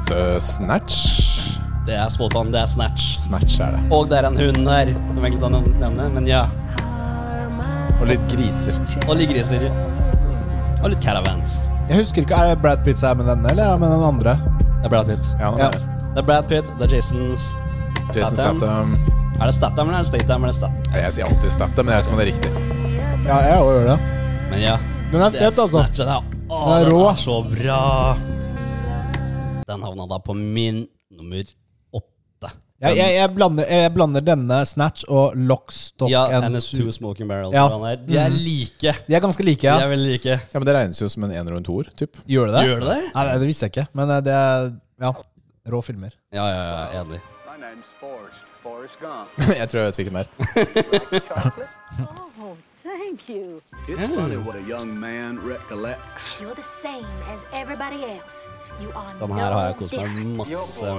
Speaker 3: Så, Snatch?
Speaker 2: Det er spot on, det er snatch.
Speaker 3: Snatch er det.
Speaker 2: Og det er en hund her, som jeg ikke kan nevne, men ja.
Speaker 3: Og litt griser.
Speaker 2: Og litt griser. Og litt caravans.
Speaker 1: Jeg husker ikke, Er det Brad Pitt som er med denne, eller er det med den andre?
Speaker 2: Det er Brad Pitt.
Speaker 3: Ja, den
Speaker 1: Ja.
Speaker 3: er.
Speaker 2: Det er Brad Pitt, det er Jason S-
Speaker 3: Jason
Speaker 2: Statham.
Speaker 3: Statham.
Speaker 2: Er det Statham eller er det Statham? Eller Statham?
Speaker 3: Ja, Jeg sier alltid Statham, men jeg vet ikke om det er riktig.
Speaker 1: Ja, jeg òg gjør det.
Speaker 2: Men ja.
Speaker 1: Den er
Speaker 2: Det er
Speaker 1: fet, altså.
Speaker 2: Snatch, det er, å,
Speaker 1: Den er
Speaker 2: den
Speaker 1: rå.
Speaker 2: er så bra. Den havna da på min nummer åtte.
Speaker 1: Jeg, jeg, jeg, blander, jeg blander denne Snatch og Lock, Stock
Speaker 2: Ja, and a two smoking barrels.
Speaker 1: Ja.
Speaker 2: for han er- De er
Speaker 1: Mm.
Speaker 2: like.
Speaker 1: De er ganske like, ja.
Speaker 2: De er veldig like.
Speaker 3: Ja, men Det regnes jo som en ener og en toer. typ.
Speaker 1: Gjør det det?
Speaker 2: Gjør det det?
Speaker 1: Nei, det visste jeg ikke. Men eh, det er ja, rå filmer.
Speaker 2: Ja, ja, ja, enig.
Speaker 4: My name's Forrest. Forrest Gump.
Speaker 3: jeg tror jeg vet hvilken det er.
Speaker 22: Oh, thank you.
Speaker 4: It's funny what a young man recollects.
Speaker 22: You're the same as everybody else. You are
Speaker 2: Den her har jeg
Speaker 22: no
Speaker 2: kost meg
Speaker 22: different.
Speaker 2: masse med.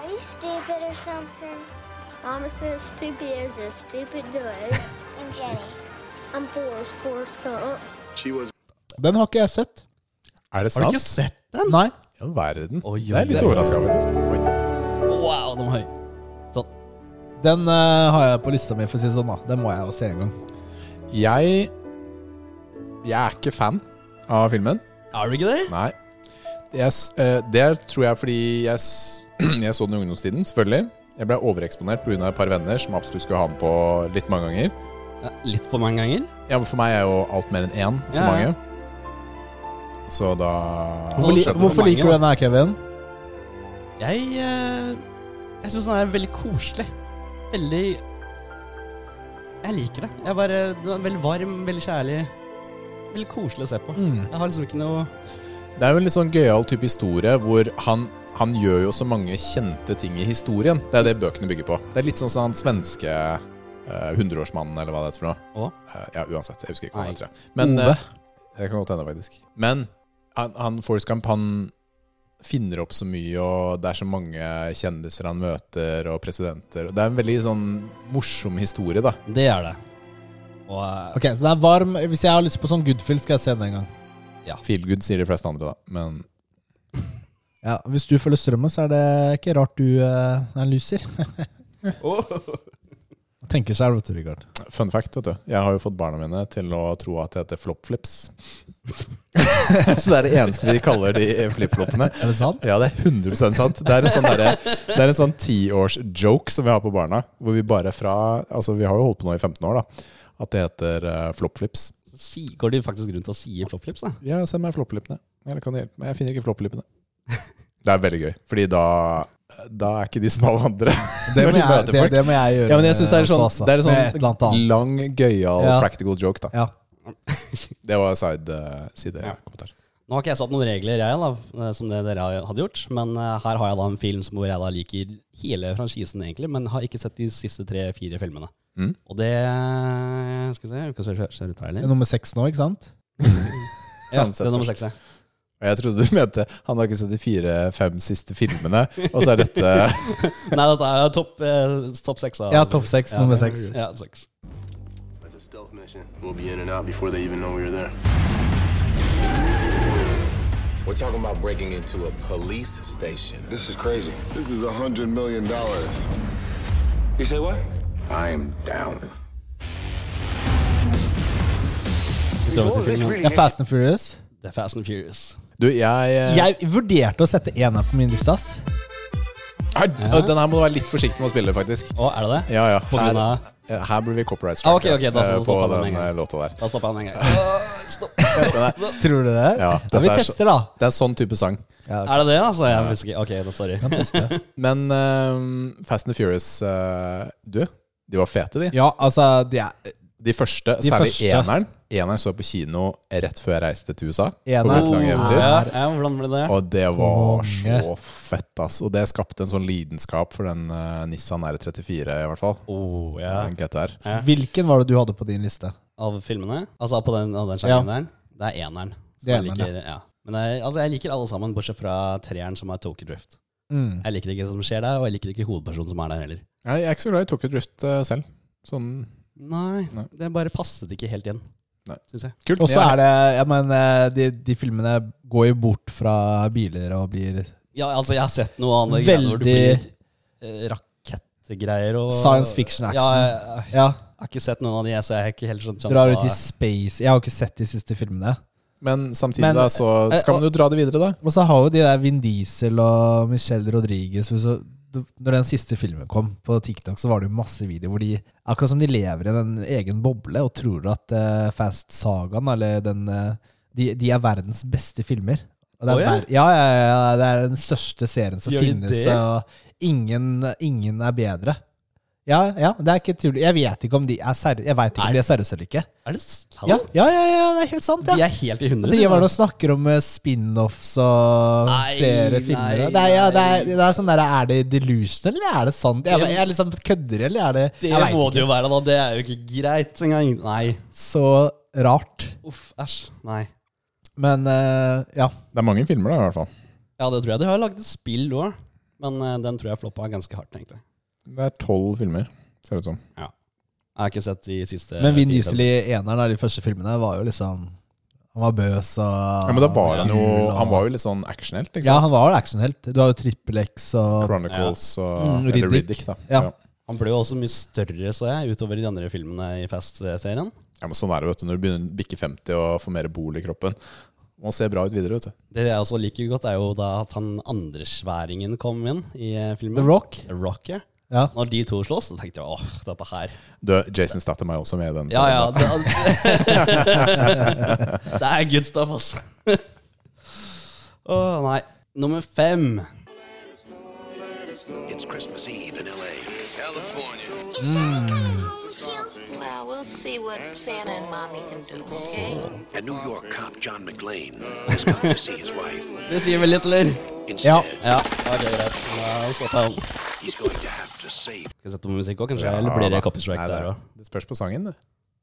Speaker 23: Are you stupid or something? Mama says stupid is as stupid does. I'm Jenny. I'm Forrest Forrest Gump.
Speaker 4: She was
Speaker 1: Den har ikke jeg sett.
Speaker 3: Er det sant?
Speaker 1: Har du ikke sett den? Nei.
Speaker 3: Ja, verden.
Speaker 2: Oi,
Speaker 3: det er litt overraska over. faktisk. Oi.
Speaker 2: Wow, den var høy. Sånn.
Speaker 1: Den eh, har jeg på lista mi, for å si det sånn. da Den må jeg jo se en gang.
Speaker 3: Jeg Jeg er ikke fan av filmen.
Speaker 2: Er du ikke det?
Speaker 3: Nei. Jeg, s- eh, det er- tror jeg fordi jeg, s- jeg så den i ungdomstiden, selvfølgelig. Jeg ble overeksponert pga. et par venner som absolutt skulle ha den på litt mange ganger.
Speaker 2: litt for mange ganger?
Speaker 3: Ja, men For meg er jo alt mer enn én for
Speaker 2: Ja, ja.
Speaker 3: mange. Så da
Speaker 1: Hvorfor,
Speaker 3: så
Speaker 1: li,
Speaker 3: skjedde det.
Speaker 1: hvorfor liker du den her, Kevin?
Speaker 2: Jeg eh, Jeg syns den er veldig koselig. Veldig Jeg liker det. Jeg bare, den er veldig varm, veldig kjærlig. Veldig koselig å se på.
Speaker 3: Mm.
Speaker 2: Jeg har liksom ikke noe
Speaker 3: Det er jo en litt sånn gøyal type historie hvor han, han gjør jo så mange kjente ting i historien. Det er det bøkene bygger på. Det er litt sånn som han svenske eh, hundreårsmannen, eller hva det heter for noe. Eh, ja, uansett. Jeg husker ikke hva han
Speaker 2: Nei.
Speaker 3: heter. Men
Speaker 1: Ove.
Speaker 3: eh, Det kan godt hende, faktisk. Men han, han Forrest Gump, han finner opp så mye, og det er så mange kjendiser han møter, og presidenter. Og det er en veldig sånn morsom historie, da.
Speaker 2: Det er det. Og eh,
Speaker 1: Ok, Så den er varm. Hvis jeg har lyst på sånn Goodfield, skal jeg se den en gang.
Speaker 3: Feel good, sier de fleste andre, da. Men
Speaker 1: Ja, Hvis du følger strømmen, så er det ikke rart du eh, er en loser.
Speaker 3: Oh.
Speaker 1: Tenker seg, vet du, Richard.
Speaker 3: Fun fact, vet du. Jeg har jo fått barna mine til å tro at det heter flopflips. så det er det eneste vi kaller de flipfloppene.
Speaker 1: Er det sant?
Speaker 3: Ja, det er 100 sant. Det er en sånn, derre- det er en sånn tiårsjoke som vi har på barna. Hvor vi bare fra Altså, vi har jo holdt på nå i 15 år, da. At det heter eh, flopflips.
Speaker 2: si, går det faktisk rundt og sier flopflips, da?
Speaker 3: Ja, send meg flopplippene. Eller kan du hjelpe meg? Jeg finner ikke flopplippene. Det er veldig gøy, fordi da da er ikke de som alle andre.
Speaker 1: Det må
Speaker 3: når de
Speaker 1: jeg-
Speaker 3: møter
Speaker 1: det-
Speaker 3: folk.
Speaker 1: det må jeg gjøre
Speaker 3: Ja, men jeg synes det er
Speaker 1: også,
Speaker 3: sånn,
Speaker 1: altså.
Speaker 3: det er
Speaker 1: Med et eller annet
Speaker 3: sånn
Speaker 1: annet.
Speaker 3: lang, gøyal
Speaker 1: Ja.
Speaker 3: practical joke, da.
Speaker 1: Ja.
Speaker 3: Det var side, eh, side kommentar.
Speaker 2: Nå har ikke jeg satt noen regler, jeg, da, eh, som det dere har- hadde gjort. Men eh, her har jeg da en film som hvor jeg da liker hele franchisen, egentlig, men har ikke sett de siste tre-fire filmene.
Speaker 3: Mm.
Speaker 2: Og det Skal vi se, vi kan se, se, se
Speaker 1: Det
Speaker 2: trailer.
Speaker 1: er nummer seks nå, ikke sant?
Speaker 2: Ja,
Speaker 3: Han
Speaker 2: det
Speaker 3: setter
Speaker 2: er nummer
Speaker 3: først.
Speaker 2: seks, ja.
Speaker 3: Og jeg trodde du mente han har ikke sett de fire-fem siste filmene, og så er dette
Speaker 2: Nei, dette er jo topp eh, topp seks. da.
Speaker 1: Ja, topp seks, nummer
Speaker 2: det-
Speaker 1: seks.
Speaker 2: Ja, seks.
Speaker 24: It's a stealth mission. We'll be in and out before they even know we are there.
Speaker 25: We're talking about breaking into a police station.
Speaker 5: This is crazy. This is a hundred million dollars. You say what? I am down.
Speaker 1: Det er Fast and Furious.
Speaker 2: Det er Fast and Furious.
Speaker 3: Du, jeg, eh,
Speaker 1: Jeg vurderte å sette eneren på min liste, ass.
Speaker 3: Her, Den her må du være litt forsiktig med å spille, faktisk.
Speaker 2: Å, er det det?
Speaker 3: Ja, ja.
Speaker 2: På grunn
Speaker 3: Her,
Speaker 2: av-
Speaker 3: ja, her blir vi copyright
Speaker 2: Ah, ok,
Speaker 3: strike
Speaker 2: ok, da
Speaker 3: eh,
Speaker 2: stopper
Speaker 3: på
Speaker 2: han med en
Speaker 3: den
Speaker 2: gang.
Speaker 3: eh, låta der.
Speaker 2: Da stopper han med en gang.
Speaker 1: Tror du det?
Speaker 3: Ja,
Speaker 1: vi
Speaker 3: dette er
Speaker 1: tester,
Speaker 3: så-
Speaker 1: da.
Speaker 3: Det er sånn type sang.
Speaker 2: Er det det, altså? Jeg husker ikke. Ok, da, sorry.
Speaker 3: Men eh, Fast and Furious eh, Du, de var fete, de.
Speaker 1: Ja, altså, de er
Speaker 3: De første,
Speaker 1: De
Speaker 3: særlig
Speaker 1: første.
Speaker 3: eneren. Eneren så jeg på kino rett før jeg reiste til USA. på
Speaker 1: Eneren
Speaker 3: mitt lange eventyr.
Speaker 2: Ja, ja, hvordan ble det?
Speaker 3: Og det var så fett, ass. Og det skapte en sånn lidenskap for den eh, Nissan R34, i hvert fall.
Speaker 2: Oh, ja.
Speaker 3: Den GTR.
Speaker 1: Hvilken var det du hadde på din liste?
Speaker 2: Av filmene? Altså på den, av den sjangeren
Speaker 1: Ja.
Speaker 2: der? Det er eneren. som
Speaker 1: Det er
Speaker 2: jeg
Speaker 1: eneren,
Speaker 2: liker, ja. Men jeg, altså, jeg liker alle sammen, bortsett fra treeren, som er Tokyo Drift.
Speaker 3: Mm.
Speaker 2: Jeg liker ikke det som skjer der, og jeg liker ikke hovedpersonen som er der heller.
Speaker 3: Nei, jeg er ikke så glad i Tokyo Drift eh, selv. Sånn
Speaker 2: Nei, det bare passet ikke helt igjen, syns jeg.
Speaker 1: Og så er det jeg mener, de, de filmene går jo bort fra biler og blir
Speaker 2: Ja, altså, jeg har sett noe annet greier hvor du blir
Speaker 1: Veldig-
Speaker 2: eh, rakettgreier og
Speaker 1: Science fiction action.
Speaker 2: Ja, jeg, jeg,
Speaker 1: Ja.
Speaker 2: har ikke sett noen av de, så jeg har ikke helt sånn skjønt skjønt
Speaker 1: Drar
Speaker 2: hva-
Speaker 1: ut i space. Jeg har jo ikke sett de siste filmene.
Speaker 3: Men samtidig,
Speaker 1: Men, eh,
Speaker 3: da, så skal man jo dra det videre, da.
Speaker 1: Og så har jo de der Vin Diesel og Michelle Rodriguez hvis du- du- Når den siste filmen kom på TikTok, så var det jo masse videoer hvor de Akkurat som de lever i en egen boble og tror at eh, Fast Sagaen eller den eh, de, de er verdens beste filmer. Og det er,
Speaker 2: Å, ja?
Speaker 1: ver- ja, ja, ja, ja, det er den største serien som
Speaker 2: Gjør de
Speaker 1: finnes,
Speaker 2: det?
Speaker 1: og ingen, ingen er bedre. Ja, ja, det er ikke tull. Jeg vet ikke om de er seri- Jeg vet ikke om de er seriøse eller ikke.
Speaker 2: Er det sant?
Speaker 1: Ja, ja, ja, ja, det er helt sant. Ja.
Speaker 2: De er helt i hundre.
Speaker 1: De var og snakker om eh, spin-offs og
Speaker 2: Nei,
Speaker 1: flere
Speaker 2: nei,
Speaker 1: filmer. og Det er, ja, det er, det er sånn der, Er det delusional, eller er det sant? Jeg,
Speaker 2: Det-
Speaker 1: jeg liksom kødder, eller er det
Speaker 2: Det
Speaker 1: jeg vet
Speaker 2: må
Speaker 1: ikke.
Speaker 2: det jo være, da. Det er jo ikke greit engang. Nei.
Speaker 1: Så rart.
Speaker 2: Uff, æsj. Nei.
Speaker 1: Men eh, ja.
Speaker 3: Det er mange filmer, da, i hvert fall.
Speaker 2: Ja, det tror jeg. De har lagd et spill òg, men eh, den tror jeg floppa ganske hardt, egentlig.
Speaker 3: Det er tolv filmer, ser det ut som.
Speaker 2: Ja. Jeg har ikke sett de siste
Speaker 1: Men Vin
Speaker 2: fire,
Speaker 1: Diesel
Speaker 2: fem.
Speaker 1: i eneren av de første filmene var jo liksom Han var bøs og
Speaker 3: Ja, men da var han jo
Speaker 1: kul, og-
Speaker 3: Han var jo litt sånn actionhelt, ikke sant?
Speaker 1: Ah, Ja, han var actionhelt. Du har jo Trippel X og
Speaker 3: Chronicles og
Speaker 1: Mm,
Speaker 3: eller Riddick, da.
Speaker 1: Ja.
Speaker 3: Ja.
Speaker 2: Han ble jo også mye større, så jeg, utover i de andre filmene i Fast-serien.
Speaker 3: Ja, men sånn er det vet du, når du begynner å bikke 50 og får mer bol i kroppen. Man ser bra ut videre. vet du.
Speaker 2: Det jeg også liker godt, er jo da at han andre sværingen kom inn i eh, filmen.
Speaker 1: The Rock?
Speaker 2: The Rock, ja.
Speaker 1: Ja.
Speaker 2: Når de to slåss, så tenkte jeg åh, dette her.
Speaker 3: du Jason Statham er jo også med i den.
Speaker 2: Ja, ja.
Speaker 3: serien,
Speaker 2: Det,
Speaker 3: da.
Speaker 2: det er good stuff, altså. Å nei. Nummer fem.
Speaker 13: It's Christmas Eve in LA.
Speaker 6: California. Well, we'll see what Santa and Mommy can do, okay?
Speaker 13: A New York cop, John McLean, has come to see his wife.
Speaker 2: Det sier vel litt, eller?
Speaker 13: Instead,
Speaker 2: Ja, ok, greit. Nå stopper jeg den.
Speaker 13: he's going to have to save.
Speaker 2: Skal jeg sette på musikk òg, kanskje?
Speaker 3: Ja,
Speaker 2: eller blir
Speaker 3: da.
Speaker 2: det copystrike
Speaker 3: Nei, det-
Speaker 2: der òg?
Speaker 3: Det spørs på sangen, det.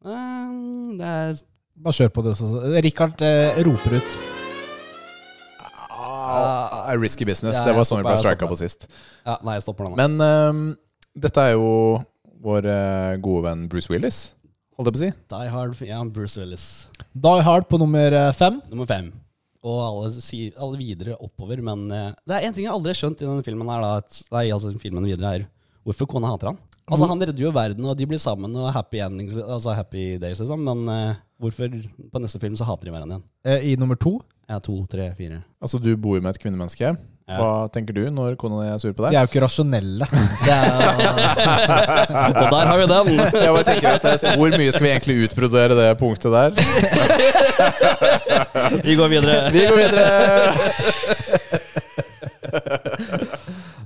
Speaker 2: Det er
Speaker 1: Bare kjør på det. så- Richard eh, roper ut.
Speaker 3: Ah, risky business.
Speaker 2: Ja,
Speaker 3: det var
Speaker 2: jeg
Speaker 3: sånn vi
Speaker 2: stopper,
Speaker 3: ble
Speaker 2: jeg
Speaker 3: strika
Speaker 2: stopper.
Speaker 3: på sist.
Speaker 2: Ja, nei, jeg stopper den. da.
Speaker 3: Men ehm, dette er jo vår eh, gode venn Bruce Willis, holdt jeg på å si.
Speaker 2: Die Hard, ja, Bruce Willis.
Speaker 1: Die Hard på nummer eh, fem.
Speaker 2: Nummer fem. Og alle, sier, alle videre oppover, men eh, det er en ting jeg aldri har skjønt i denne filmen her, da, at, nei, altså filmen videre her, hvorfor kona hater han? Altså, han redder jo verden, og de blir sammen, og happy endings, altså happy days, liksom, men eh, hvorfor på neste film så hater de hverandre igjen?
Speaker 1: Eh, I nummer to.
Speaker 2: Ja, to, tre, fire.
Speaker 3: Altså, du bor jo med et kvinnemenneske.
Speaker 2: Ja.
Speaker 3: Hva tenker du når kona di er sur på
Speaker 1: De
Speaker 3: deg?
Speaker 1: er jo ikke rasjonelle. Det er,
Speaker 2: Og der har vi den.
Speaker 3: Jeg bare tenker at jeg ser, Hvor mye skal vi egentlig utbrodere det punktet der?
Speaker 2: Vi går videre.
Speaker 3: Vi går videre.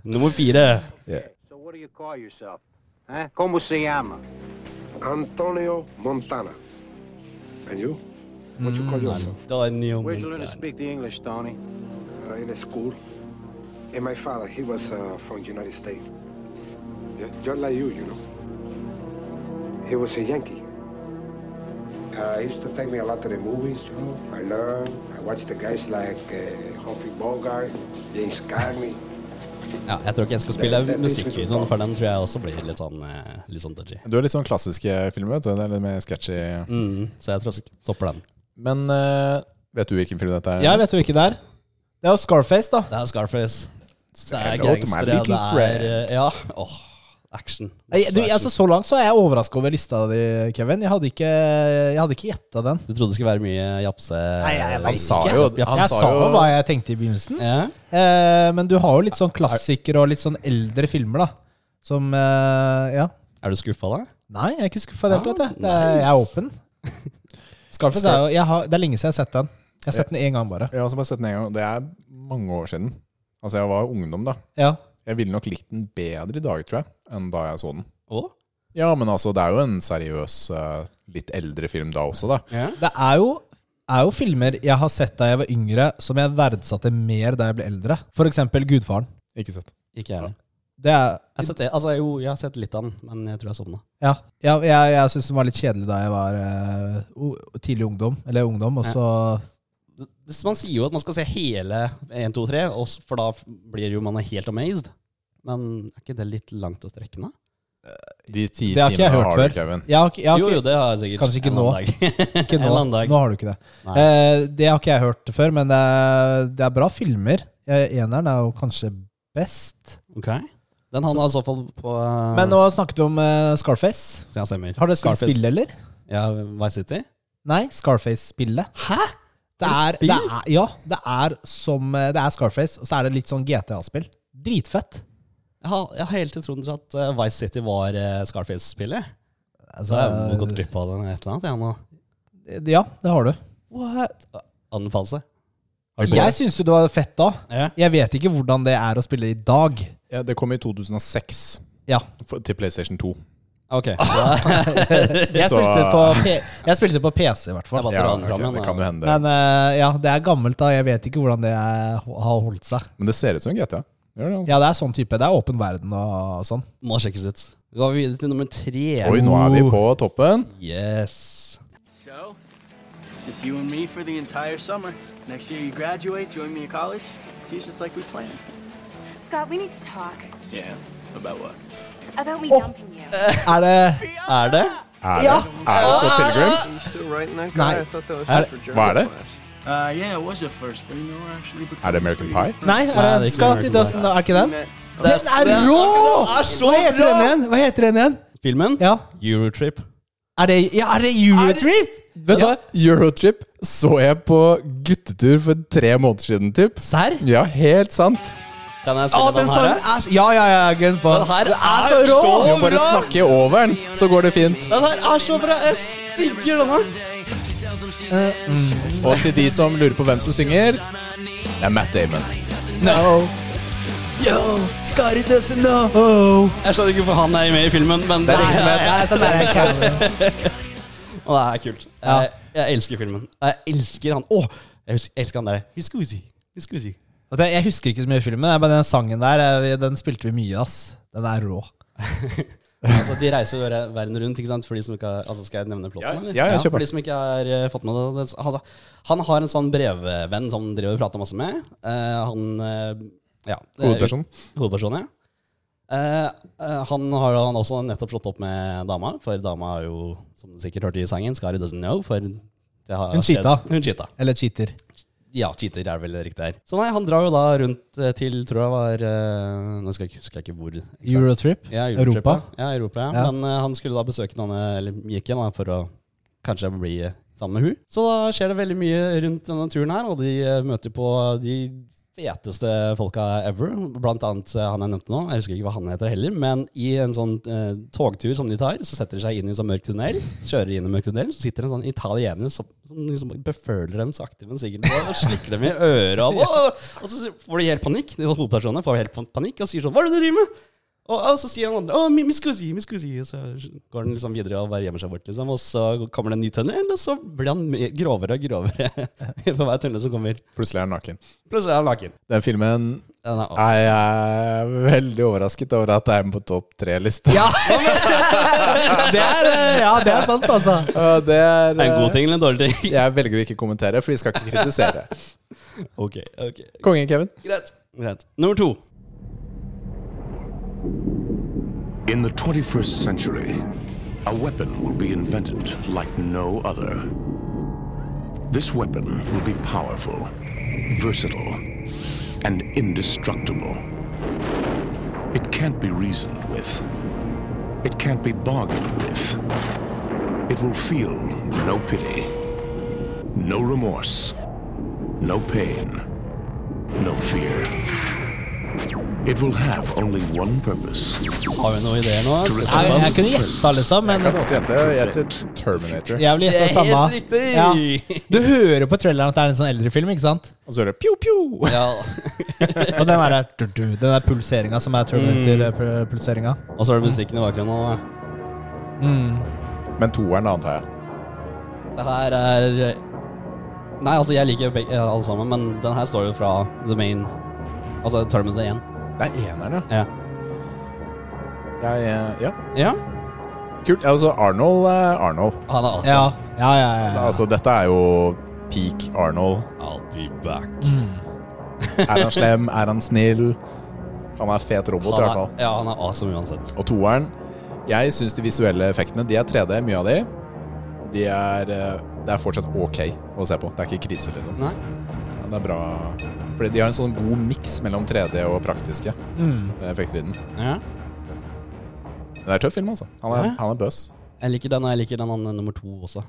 Speaker 2: Nummer fire.
Speaker 7: So what do you call yourself? Huh? Como se llama?
Speaker 13: Antonio Montana. And you? What you call yourself?
Speaker 2: Daniel
Speaker 7: Where'd you learn to speak the English, Tony?
Speaker 13: Uh, in a school. And my father, he was uh, from United States. Yeah, just like you, you know. He was a Yankee. Uh, he used to take me a lot to the movies, you know. I learned. I watched the guys like uh, Humphrey Bogart, James Cagney.
Speaker 2: Ja, jeg tror ikke jeg skal spille musikkvideoen, for den tror jeg også blir litt sånn, eh, litt sånn dodgy.
Speaker 3: Du er litt sånn klassiske filmer, vet du. Det er litt mer sketchy.
Speaker 2: Mm, så jeg tror jeg stopper den.
Speaker 3: Men eh, vet du hvilken film dette er?
Speaker 1: jeg vet jo ikke det er. Det er jo Scarface, da.
Speaker 2: Det er Scarface. Det er
Speaker 3: hello to my
Speaker 2: gangstere, det
Speaker 3: little
Speaker 2: er
Speaker 3: friend.
Speaker 2: eh, Ja. Åh, action.
Speaker 1: Nei, Du, altså, så langt så er jeg overraska over lista di, Kevin. Jeg hadde ikke, jeg hadde ikke gjetta den.
Speaker 2: Du trodde det skulle være mye japse... Nei,
Speaker 1: Eh, Han sa jo- jeg sa jo hva jeg tenkte i begynnelsen.
Speaker 2: Ja.
Speaker 1: Eh, men du har jo litt sånn klassikere og litt sånn eldre filmer, da. Som eh, Ja.
Speaker 2: Er du skuffa, da?
Speaker 1: Nei, jeg er ikke skuffa i det hele tatt. jeg. Det er-
Speaker 2: nice.
Speaker 1: Jeg er åpen. Scarface er jo jeg har, Det er lenge siden jeg har sett den. Jeg har sett den én gang bare.
Speaker 3: Jeg har også bare sett den en gang. Det er mange år siden. Altså, jeg var ungdom da.
Speaker 1: Ja.
Speaker 3: Jeg ville nok likt den bedre i dag, tror jeg, enn da jeg så den.
Speaker 2: Å?
Speaker 3: Ja, men altså, det er jo en seriøs, eh, litt eldre film da også, da.
Speaker 1: Det er jo, er jo filmer jeg har sett da jeg var yngre, som jeg verdsatte mer da jeg ble eldre. For eksempel Gudfaren.
Speaker 3: Ikke sett.
Speaker 2: Ikke jeg heller.
Speaker 1: Det er,
Speaker 2: Jeg har sett det. Altså, jo, jeg har sett litt av den, men jeg tror jeg sovna.
Speaker 1: ja, ja, jeg, jeg syns den var litt kjedelig da jeg var eh, o- tidlig ungdom, eller ungdom, og så
Speaker 2: Det- Man sier jo at man skal se hele 1, 2, 3, og s- for da f- blir jo man helt amazed. Men er ikke det litt langt å strekke den, da?
Speaker 3: De ti
Speaker 1: Det har ikke jeg
Speaker 3: timene
Speaker 1: hørt
Speaker 3: har du,
Speaker 1: før.
Speaker 3: Kevin.
Speaker 1: Jeg har ikke- jeg har
Speaker 2: Jo,
Speaker 1: ikke-
Speaker 2: jo, det har jeg sikkert.
Speaker 1: Kanskje ikke
Speaker 2: En
Speaker 1: nå.
Speaker 2: annen dag.
Speaker 1: Ikke
Speaker 2: En
Speaker 1: nå.
Speaker 2: annen dag.
Speaker 1: nå har du ikke det.
Speaker 2: Nei.
Speaker 1: Eh, det har ikke jeg hørt før, men det er, det er bra filmer. Eh, Eneren er jo kanskje best.
Speaker 2: Ok. Den havna i så fall på eh,
Speaker 1: Men nå snakket vi om eh, Scarface.
Speaker 2: Ja, stemmer.
Speaker 1: Har dere spilt
Speaker 2: Scarface.
Speaker 1: spill, eller?
Speaker 2: Ja, Vice City?
Speaker 1: Nei, Scarface-spillet.
Speaker 2: Hæ?
Speaker 1: Det
Speaker 2: Er
Speaker 1: er,
Speaker 2: det
Speaker 1: det
Speaker 2: spill?
Speaker 1: er, ja, det er som eh, Det er Scarface, og så er det litt sånn GTA-spill. Dritfett.
Speaker 2: Jeg har, jeg har hele tiden trodd at eh, Vice City var eh, Scarface-spillet.
Speaker 1: Altså,
Speaker 2: Så jeg har gått glipp av den et eller annet, jeg nå.
Speaker 1: Ja, det har du.
Speaker 2: What? Anfallelse.
Speaker 3: Har du prøvd?
Speaker 1: Jeg syns jo det var fett da. Jeg vet ikke hvordan det er å spille i dag.
Speaker 3: Ja, det kom i 2006 For- til PlayStation 2.
Speaker 2: Ok.
Speaker 1: jeg,
Speaker 3: Så-
Speaker 1: spilte på P jeg spilte på PC, i hvert fall.
Speaker 3: Ja, ok, det kan jo hende.
Speaker 1: Men eh, ja, det er gammelt, da. Jeg vet ikke hvordan det er, har holdt seg.
Speaker 3: Men det altså. ser ut som GTA.
Speaker 1: Ja, det er sånn type. Det er åpen verden og sånn.
Speaker 2: Må sjekkes ut. Da går vi videre til nummer tre.
Speaker 3: Oi, nå er vi på toppen.
Speaker 2: Yes.
Speaker 9: So, it's just you and me for the entire summer. Next year you graduate, join me in college. See, it's just like we planned.
Speaker 8: Scott, we need to talk
Speaker 9: Yeah. About what?
Speaker 8: about me dumping you.
Speaker 1: Er det
Speaker 2: Er det?
Speaker 3: Er
Speaker 8: Ja.
Speaker 3: det, er det Scott Pilgrim?
Speaker 1: Nei. Er det-
Speaker 3: Hva er det?
Speaker 9: Uh, yeah, it was at first, but you know, we're actually becoming
Speaker 3: Er det American Pie?
Speaker 1: Nei, er det, Scott It Doesn't Er ikke den? Den er
Speaker 9: Den-
Speaker 1: rå!
Speaker 9: Den er så
Speaker 1: Hva heter
Speaker 9: bra!
Speaker 1: den igjen? Hva heter den igjen?
Speaker 2: Filmen?
Speaker 1: Ja.
Speaker 2: Eurotrip.
Speaker 1: Er det, ja, er det Eurotrip?
Speaker 3: Vet du hva? Eurotrip så jeg på guttetur for tre måneder siden, typ.
Speaker 1: Serr?
Speaker 3: Ja, helt sant.
Speaker 2: Kan jeg
Speaker 1: Å,
Speaker 2: spille
Speaker 1: den
Speaker 2: den her?
Speaker 1: sangen
Speaker 2: da?
Speaker 1: er så Ja, ja, ja, gunn på.
Speaker 2: Den her
Speaker 1: Den er
Speaker 2: er
Speaker 1: så rå!
Speaker 2: så
Speaker 3: Vi må bare snakke over den, så går det fint.
Speaker 2: Den her er så bra! Jeg digger denne.
Speaker 3: Og til de som lurer på hvem som synger, det er Matt Damon.
Speaker 1: No. Yo, Scotty doesn't know.
Speaker 2: Jeg skjønner ikke hvorfor han er med i filmen,
Speaker 1: Oh.
Speaker 2: men
Speaker 1: Det er ikke som heter- Nei, sånn er det
Speaker 2: Og det er kult. Jeg, jeg elsker filmen. Jeg elsker han. Åh, jeg husker- jeg elsker han der. Viscusi. Viscusi.
Speaker 1: Vet du, Jeg husker ikke så mye i filmen, men den sangen der eh, den spilte vi mye. ass Den er rå.
Speaker 2: Altså, de reiser jo ver- verden rundt, ikke sant? For de som ikke har, altså, skal jeg nevne plotten? eller?
Speaker 3: ja, ja, kjør på.
Speaker 2: For de som ikke har eh, fått med det. det- Altså, han har en sånn brevvenn som han driver og prater masse med. Eh, han eh, ja, det er-
Speaker 3: Hovedpersonen.
Speaker 2: Hovedpersonen, ja. Eh, eh, han har han har også nettopp slått opp med dama, for dama har jo, som du sikkert hørte i sangen, Scary Doesn't Know. For det har
Speaker 1: Hun
Speaker 2: skjedd-
Speaker 1: cheata.
Speaker 2: Hun cheata.
Speaker 1: Eller cheater.
Speaker 2: Ja, cheater er vel riktig her. Så nei, han drar jo da rundt eh, til, tror jeg var eh, Nå skal jeg, ikke- husker jeg ikke hvor. eksakt.
Speaker 1: Eurotrip?
Speaker 2: Ja, Eurotrip,
Speaker 1: Europa?
Speaker 2: Ja, ja Europa, ja.
Speaker 1: Ja.
Speaker 2: Men eh, han skulle da besøke denne, eller Mikken, da, for å kanskje bli eh, sammen med hun. Så da skjer det veldig mye rundt denne turen her, og de eh, møter på de feteste folka ever. Blant annet eh, han jeg nevnte nå. Jeg husker ikke hva han heter heller, men i en sånn eh, togtur som de tar, så setter de seg inn i en sånn mørk tunnel, kjører inn i en mørk tunnel, så sitter det en sånn italiener som, som liksom beføler dem sakte, men sikkert på, og slikker dem i øret. Og, og, og så får de helt panikk, de hovedpersonene får helt panikk og sier sånn Hva er det du driver med? Og, og så sier han andre Å, mi, mi scusi, mi scusi. Og så går han liksom videre og bare gjemmer seg bort, liksom. Og så kommer det en ny tunnel, og så blir han mer- grovere og grovere på hver tunnel som kommer.
Speaker 3: Plutselig er han naken.
Speaker 2: Plutselig er han naken.
Speaker 3: Den filmen
Speaker 2: Den er
Speaker 3: er jeg veldig overrasket over at det er på topp tre-lista. Ja.
Speaker 1: Det er, eh, ja, det er sant, altså.
Speaker 3: det er eh,
Speaker 2: Er det en god ting eller en dårlig ting?
Speaker 3: Jeg velger å ikke kommentere, for de skal ikke kritisere.
Speaker 2: Ok, ok.
Speaker 3: Kongen, Kevin.
Speaker 2: Greit. Greit. Nummer to.
Speaker 10: In the 21st century, a weapon will be invented like no other. This weapon will be powerful, versatile, and indestructible. It can't be reasoned with. It can't be bargained with. It will feel no pity, no remorse, no pain, no fear. It will have only one purpose.
Speaker 2: Har vi noen ideer nå?
Speaker 1: Jeg, jeg kunne gjette, liksom, men
Speaker 3: Kan også gjette, gjette Terminator.
Speaker 1: jeg vil gjette det samme. Ja. Du hører på traileren at det er en sånn eldre film, ikke sant?
Speaker 3: Og så hører jeg pjo-pjo.
Speaker 1: Og den der, du, du, den der pulseringa som er eh, Terminator-pulseringa.
Speaker 2: Og så er det musikken i bakgrunnen. og
Speaker 3: Men toeren, da, antar jeg.
Speaker 2: Det her er Nei, altså, jeg liker jo begge, ja, alle sammen, men den her står jo fra The Main. Altså Terminator 1.
Speaker 3: Det er eneren,
Speaker 2: Ja.
Speaker 3: ja. Jeg, eh, ja.
Speaker 2: ja.
Speaker 3: Kult. Altså, Arnold er Arnold.
Speaker 2: Han er altså
Speaker 1: Ja, ja, ja. ja.
Speaker 3: Altså, dette er jo peak Arnold.
Speaker 2: I'll be back.
Speaker 3: Er han slem? Er han snill? Han er fet robot, i hvert
Speaker 2: Han
Speaker 3: fall.
Speaker 2: er, ja, han er awesome uansett.
Speaker 3: Og toeren Jeg syns de visuelle effektene De er 3D, mye av de. De er eh, Det er fortsatt ok å se på. Det er ikke krise, liksom.
Speaker 2: Nei.
Speaker 3: Ja, Det er bra Fordi de har en sånn god miks mellom 3D og praktiske
Speaker 1: Mm.
Speaker 3: effekter i den.
Speaker 2: Ja.
Speaker 3: Men Det er tøff film, altså. Han er,
Speaker 2: Ja.
Speaker 3: han er bøs.
Speaker 2: Jeg liker den, og jeg liker den andre nummer to også.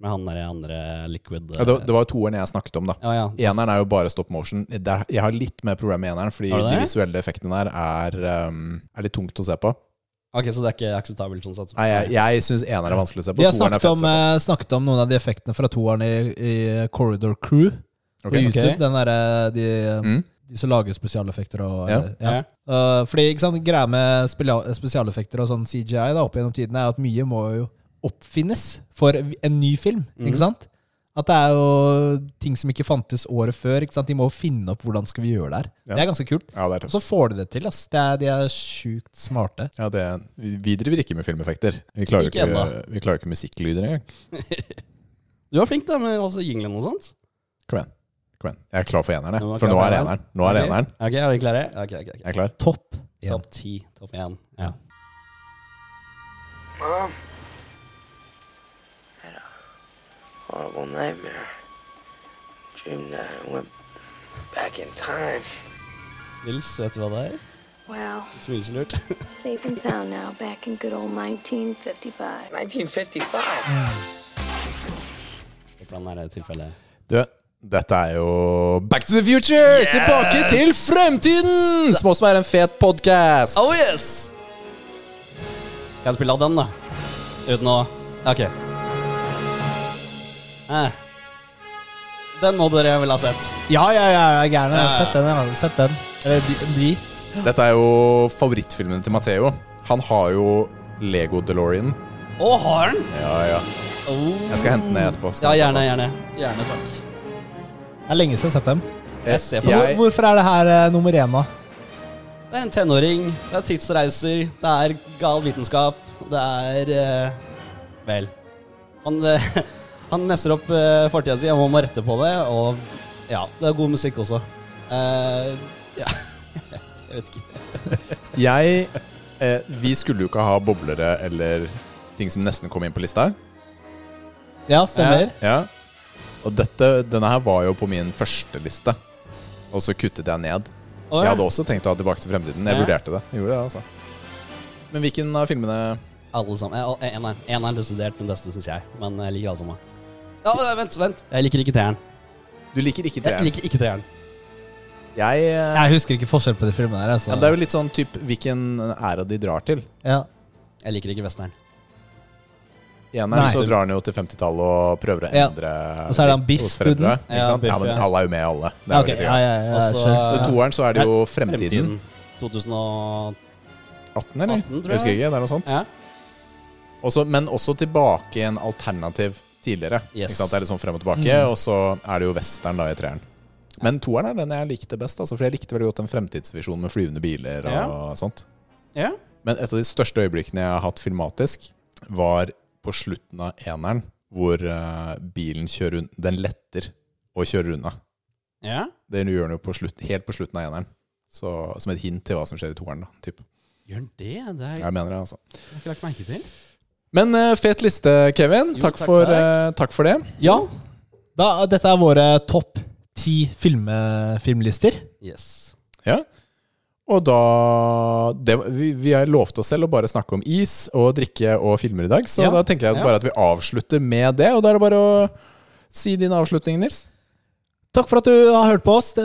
Speaker 2: Med han der andre liquid eh,
Speaker 3: Ja, det, det var jo toeren jeg snakket om, da.
Speaker 2: ja, ja.
Speaker 3: Eneren er jo bare stop motion. Det er, jeg har litt mer problemer med eneren, fordi
Speaker 2: Har du
Speaker 3: de
Speaker 2: det?
Speaker 3: visuelle effektene der er, um, er litt tungt å se på.
Speaker 2: Ok, Så det er ikke akseptabelt sånn sett?
Speaker 3: Nei, jeg, jeg syns eneren er vanskelig å se på.
Speaker 1: Vi har eh,
Speaker 2: eh,
Speaker 3: Toeren er
Speaker 1: snakket
Speaker 3: fett å
Speaker 1: om,
Speaker 3: se på.
Speaker 1: eh, snakket om noen av de effektene fra toeren i, i Corridor Crew. På
Speaker 3: Ok.
Speaker 1: YouTube,
Speaker 3: Ok.
Speaker 1: den derre de,
Speaker 3: Mm.
Speaker 1: de som lager spesialeffekter og
Speaker 3: Ja.
Speaker 1: ja. Uh, Fordi ikke sant, greia med spelia- spesialeffekter og sånn CGI da, opp gjennom tiden er at mye må jo oppfinnes for en ny film.
Speaker 2: Mhm.
Speaker 1: Ikke sant? At det er jo ting som ikke fantes året før. Ikke sant? De må jo finne opp hvordan skal vi gjøre det her.
Speaker 3: Ja.
Speaker 1: Det er ganske kult.
Speaker 3: Ja, det er
Speaker 1: Så får de det til. Ass. Det er, de er sjukt smarte.
Speaker 3: Ja, det er, vi vi driver ikke med filmeffekter. Vi klarer jo
Speaker 2: Ikke
Speaker 3: ikke,
Speaker 2: ennå.
Speaker 3: vi klarer jo ikke musikklyder engang.
Speaker 2: Du var flink da med altså, jinglen og sånt.
Speaker 3: Kom igjen. Kom igjen. Jeg er klar for eneren, jeg.
Speaker 2: var
Speaker 3: For
Speaker 2: klar
Speaker 3: nå
Speaker 2: for
Speaker 3: er
Speaker 2: eneren.
Speaker 3: eneren. Nå er
Speaker 2: Ok.
Speaker 3: eneren.
Speaker 2: Ok, er dere klare? Ok, ok, ok.
Speaker 3: Jeg er klar.
Speaker 1: Topp
Speaker 2: Topp ti. Topp én. Ja.
Speaker 14: Mom. Had a horrible nightmare. Dreamed I went back in time.
Speaker 2: Nils, vet du hva det er?
Speaker 23: Wow.
Speaker 2: Smileslurt.
Speaker 23: Safe and sound now, back in good old 1955.
Speaker 14: 1955.
Speaker 2: Hvordan er det tilfellet?
Speaker 3: Du, dette er jo Back to the future!
Speaker 2: Yes!
Speaker 3: Tilbake til fremtiden! Som også er en fet podkast.
Speaker 2: Oh yes! Kan jeg spille av den, da? Uten å Ok. Eh. Den må dere vel ha sett.
Speaker 1: Ja, ja, ja, jeg er gæren. Jeg har
Speaker 2: Ja.
Speaker 1: sett den. Jeg har sett den. Eller de, de.
Speaker 3: Dette er jo favorittfilmen til Matheo. Han har jo Lego DeLorean.
Speaker 2: Å, har den? Oh.
Speaker 3: Ja, ja. Jeg skal hente den ned etterpå.
Speaker 2: Ja, gjerne, gjerne. Gjerne, takk.
Speaker 1: Det er lenge siden jeg har sett dem.
Speaker 2: Jeg ser på
Speaker 1: Hvor,
Speaker 2: jeg,
Speaker 1: hvorfor er det her eh, nummer én, da?
Speaker 2: Det er en tenåring, det er tidsreiser, det er gal vitenskap, det er eh, Vel. Han, eh, han messer opp uh, fortida si, og man må rette på det, og ja, det er god musikk også. Eh, ja Jeg vet ikke.
Speaker 3: Jeg eh, Vi skulle jo ikke ha boblere eller ting som nesten kom inn på lista.
Speaker 1: Ja, stemmer.
Speaker 3: Ja. Og dette, denne her var jo på min første liste, og så kuttet jeg ned.
Speaker 2: Å, ja.
Speaker 3: Jeg hadde også tenkt å ha Tilbake til fremtiden. Jeg
Speaker 2: Ja.
Speaker 3: vurderte det. Jeg gjorde det, altså. Men hvilken av filmene
Speaker 2: Alle sammen. Eh, og Eneren en er desidert den beste, syns jeg. Men jeg liker alle sammen. Ja, men, eh, vent, vent. Jeg liker ikke treeren.
Speaker 3: Du liker ikke
Speaker 2: Jeg liker ikke treeren.
Speaker 3: Jeg, eh,
Speaker 1: Jeg husker ikke forskjell på de filmene her. Altså.
Speaker 3: ja, Det er jo litt sånn typ hvilken æra de drar til.
Speaker 1: Ja.
Speaker 2: Jeg liker ikke western.
Speaker 3: I eneren
Speaker 1: Nei.
Speaker 3: så drar han jo til 50-tallet og prøver å
Speaker 1: Ja.
Speaker 3: endre
Speaker 1: Og så er det han Biff,
Speaker 3: hos foreldre.
Speaker 1: duden.
Speaker 3: Ikke
Speaker 2: Ja,
Speaker 3: sant?
Speaker 2: Biff,
Speaker 3: ja, men
Speaker 2: ja.
Speaker 3: alle er jo med i alle. Det
Speaker 1: Ja,
Speaker 3: er jo Altså-
Speaker 1: ok.
Speaker 3: litt
Speaker 1: Ja,
Speaker 3: greit.
Speaker 1: ja, ja, jeg
Speaker 2: Også-
Speaker 1: skjønner.
Speaker 3: Med toeren så er det jo Fremtiden.
Speaker 2: 2018,
Speaker 3: 18, eller?
Speaker 2: tror
Speaker 3: jeg husker ikke. Det er noe sånt.
Speaker 2: Ja.
Speaker 3: Også, men også tilbake i en alternativ tidligere.
Speaker 2: Yes.
Speaker 3: Ikke sant? Det er litt sånn frem og tilbake,
Speaker 2: Mm.
Speaker 3: og så er det jo western da i treeren. Men toeren er den jeg likte best, altså, for jeg likte veldig godt den fremtidsvisjonen med flyvende biler og
Speaker 2: Ja.
Speaker 3: sånt.
Speaker 2: Ja.
Speaker 3: Men et av de største øyeblikkene jeg har hatt filmatisk, var på slutten av eneren, hvor eh, bilen kjører unna Den letter og kjører unna.
Speaker 2: Ja.
Speaker 3: Det gjør den jo på slutt, helt på slutten av eneren. Så, som et hint til hva som skjer i toeren, da. Typ.
Speaker 2: Gjør den det? Det er,
Speaker 3: Jeg mener det, altså.
Speaker 2: jeg har ikke lagt merke til.
Speaker 3: Men eh, fet liste, Kevin.
Speaker 2: Jo,
Speaker 3: takk,
Speaker 2: takk,
Speaker 3: for,
Speaker 2: takk.
Speaker 3: eh, takk for det.
Speaker 1: Ja. Da, dette er våre topp ti filme- filmlister.
Speaker 2: Yes.
Speaker 3: Ja. Og da det, vi, vi har lovt oss selv å bare snakke om is og drikke og filmer i dag, så
Speaker 1: Ja.
Speaker 3: da tenker jeg
Speaker 1: Ja.
Speaker 3: bare at vi avslutter med det. Og da er det bare å si din avslutning, Nils.
Speaker 1: Takk for at du har hørt på oss. Det-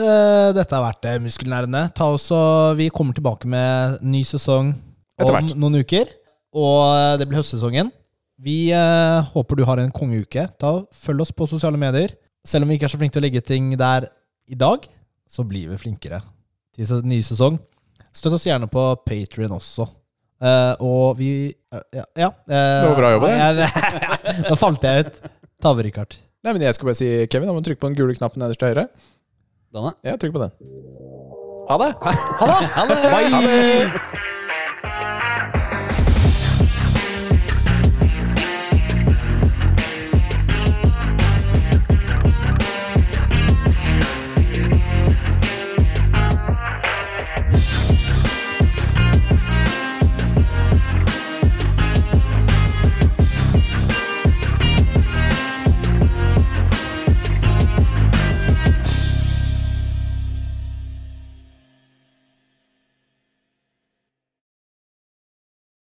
Speaker 1: Dette har vært eh, Muskelnerdene. Ta også, vi kommer tilbake med ny sesong om
Speaker 3: Etter hvert.
Speaker 1: noen uker. Og eh, det blir høstsesongen. Vi eh, håper du har en kongeuke. Ta, følg oss på sosiale medier. Selv om vi ikke er så flinke til å legge ting der i dag, så blir vi flinkere til se- ny sesong. Støtt oss gjerne på Patrion også. Eh, og vi Ja. ja eh,
Speaker 3: Det var bra jobba, det.
Speaker 1: ja, Nå falt jeg ut. Ta over, Richard.
Speaker 3: Nei, men Jeg skal bare si Kevin, da må du trykke på den gule knappen nederst til høyre.
Speaker 2: Denne?
Speaker 3: Ja, trykk på den. Ha det! Ha det!
Speaker 1: Bye!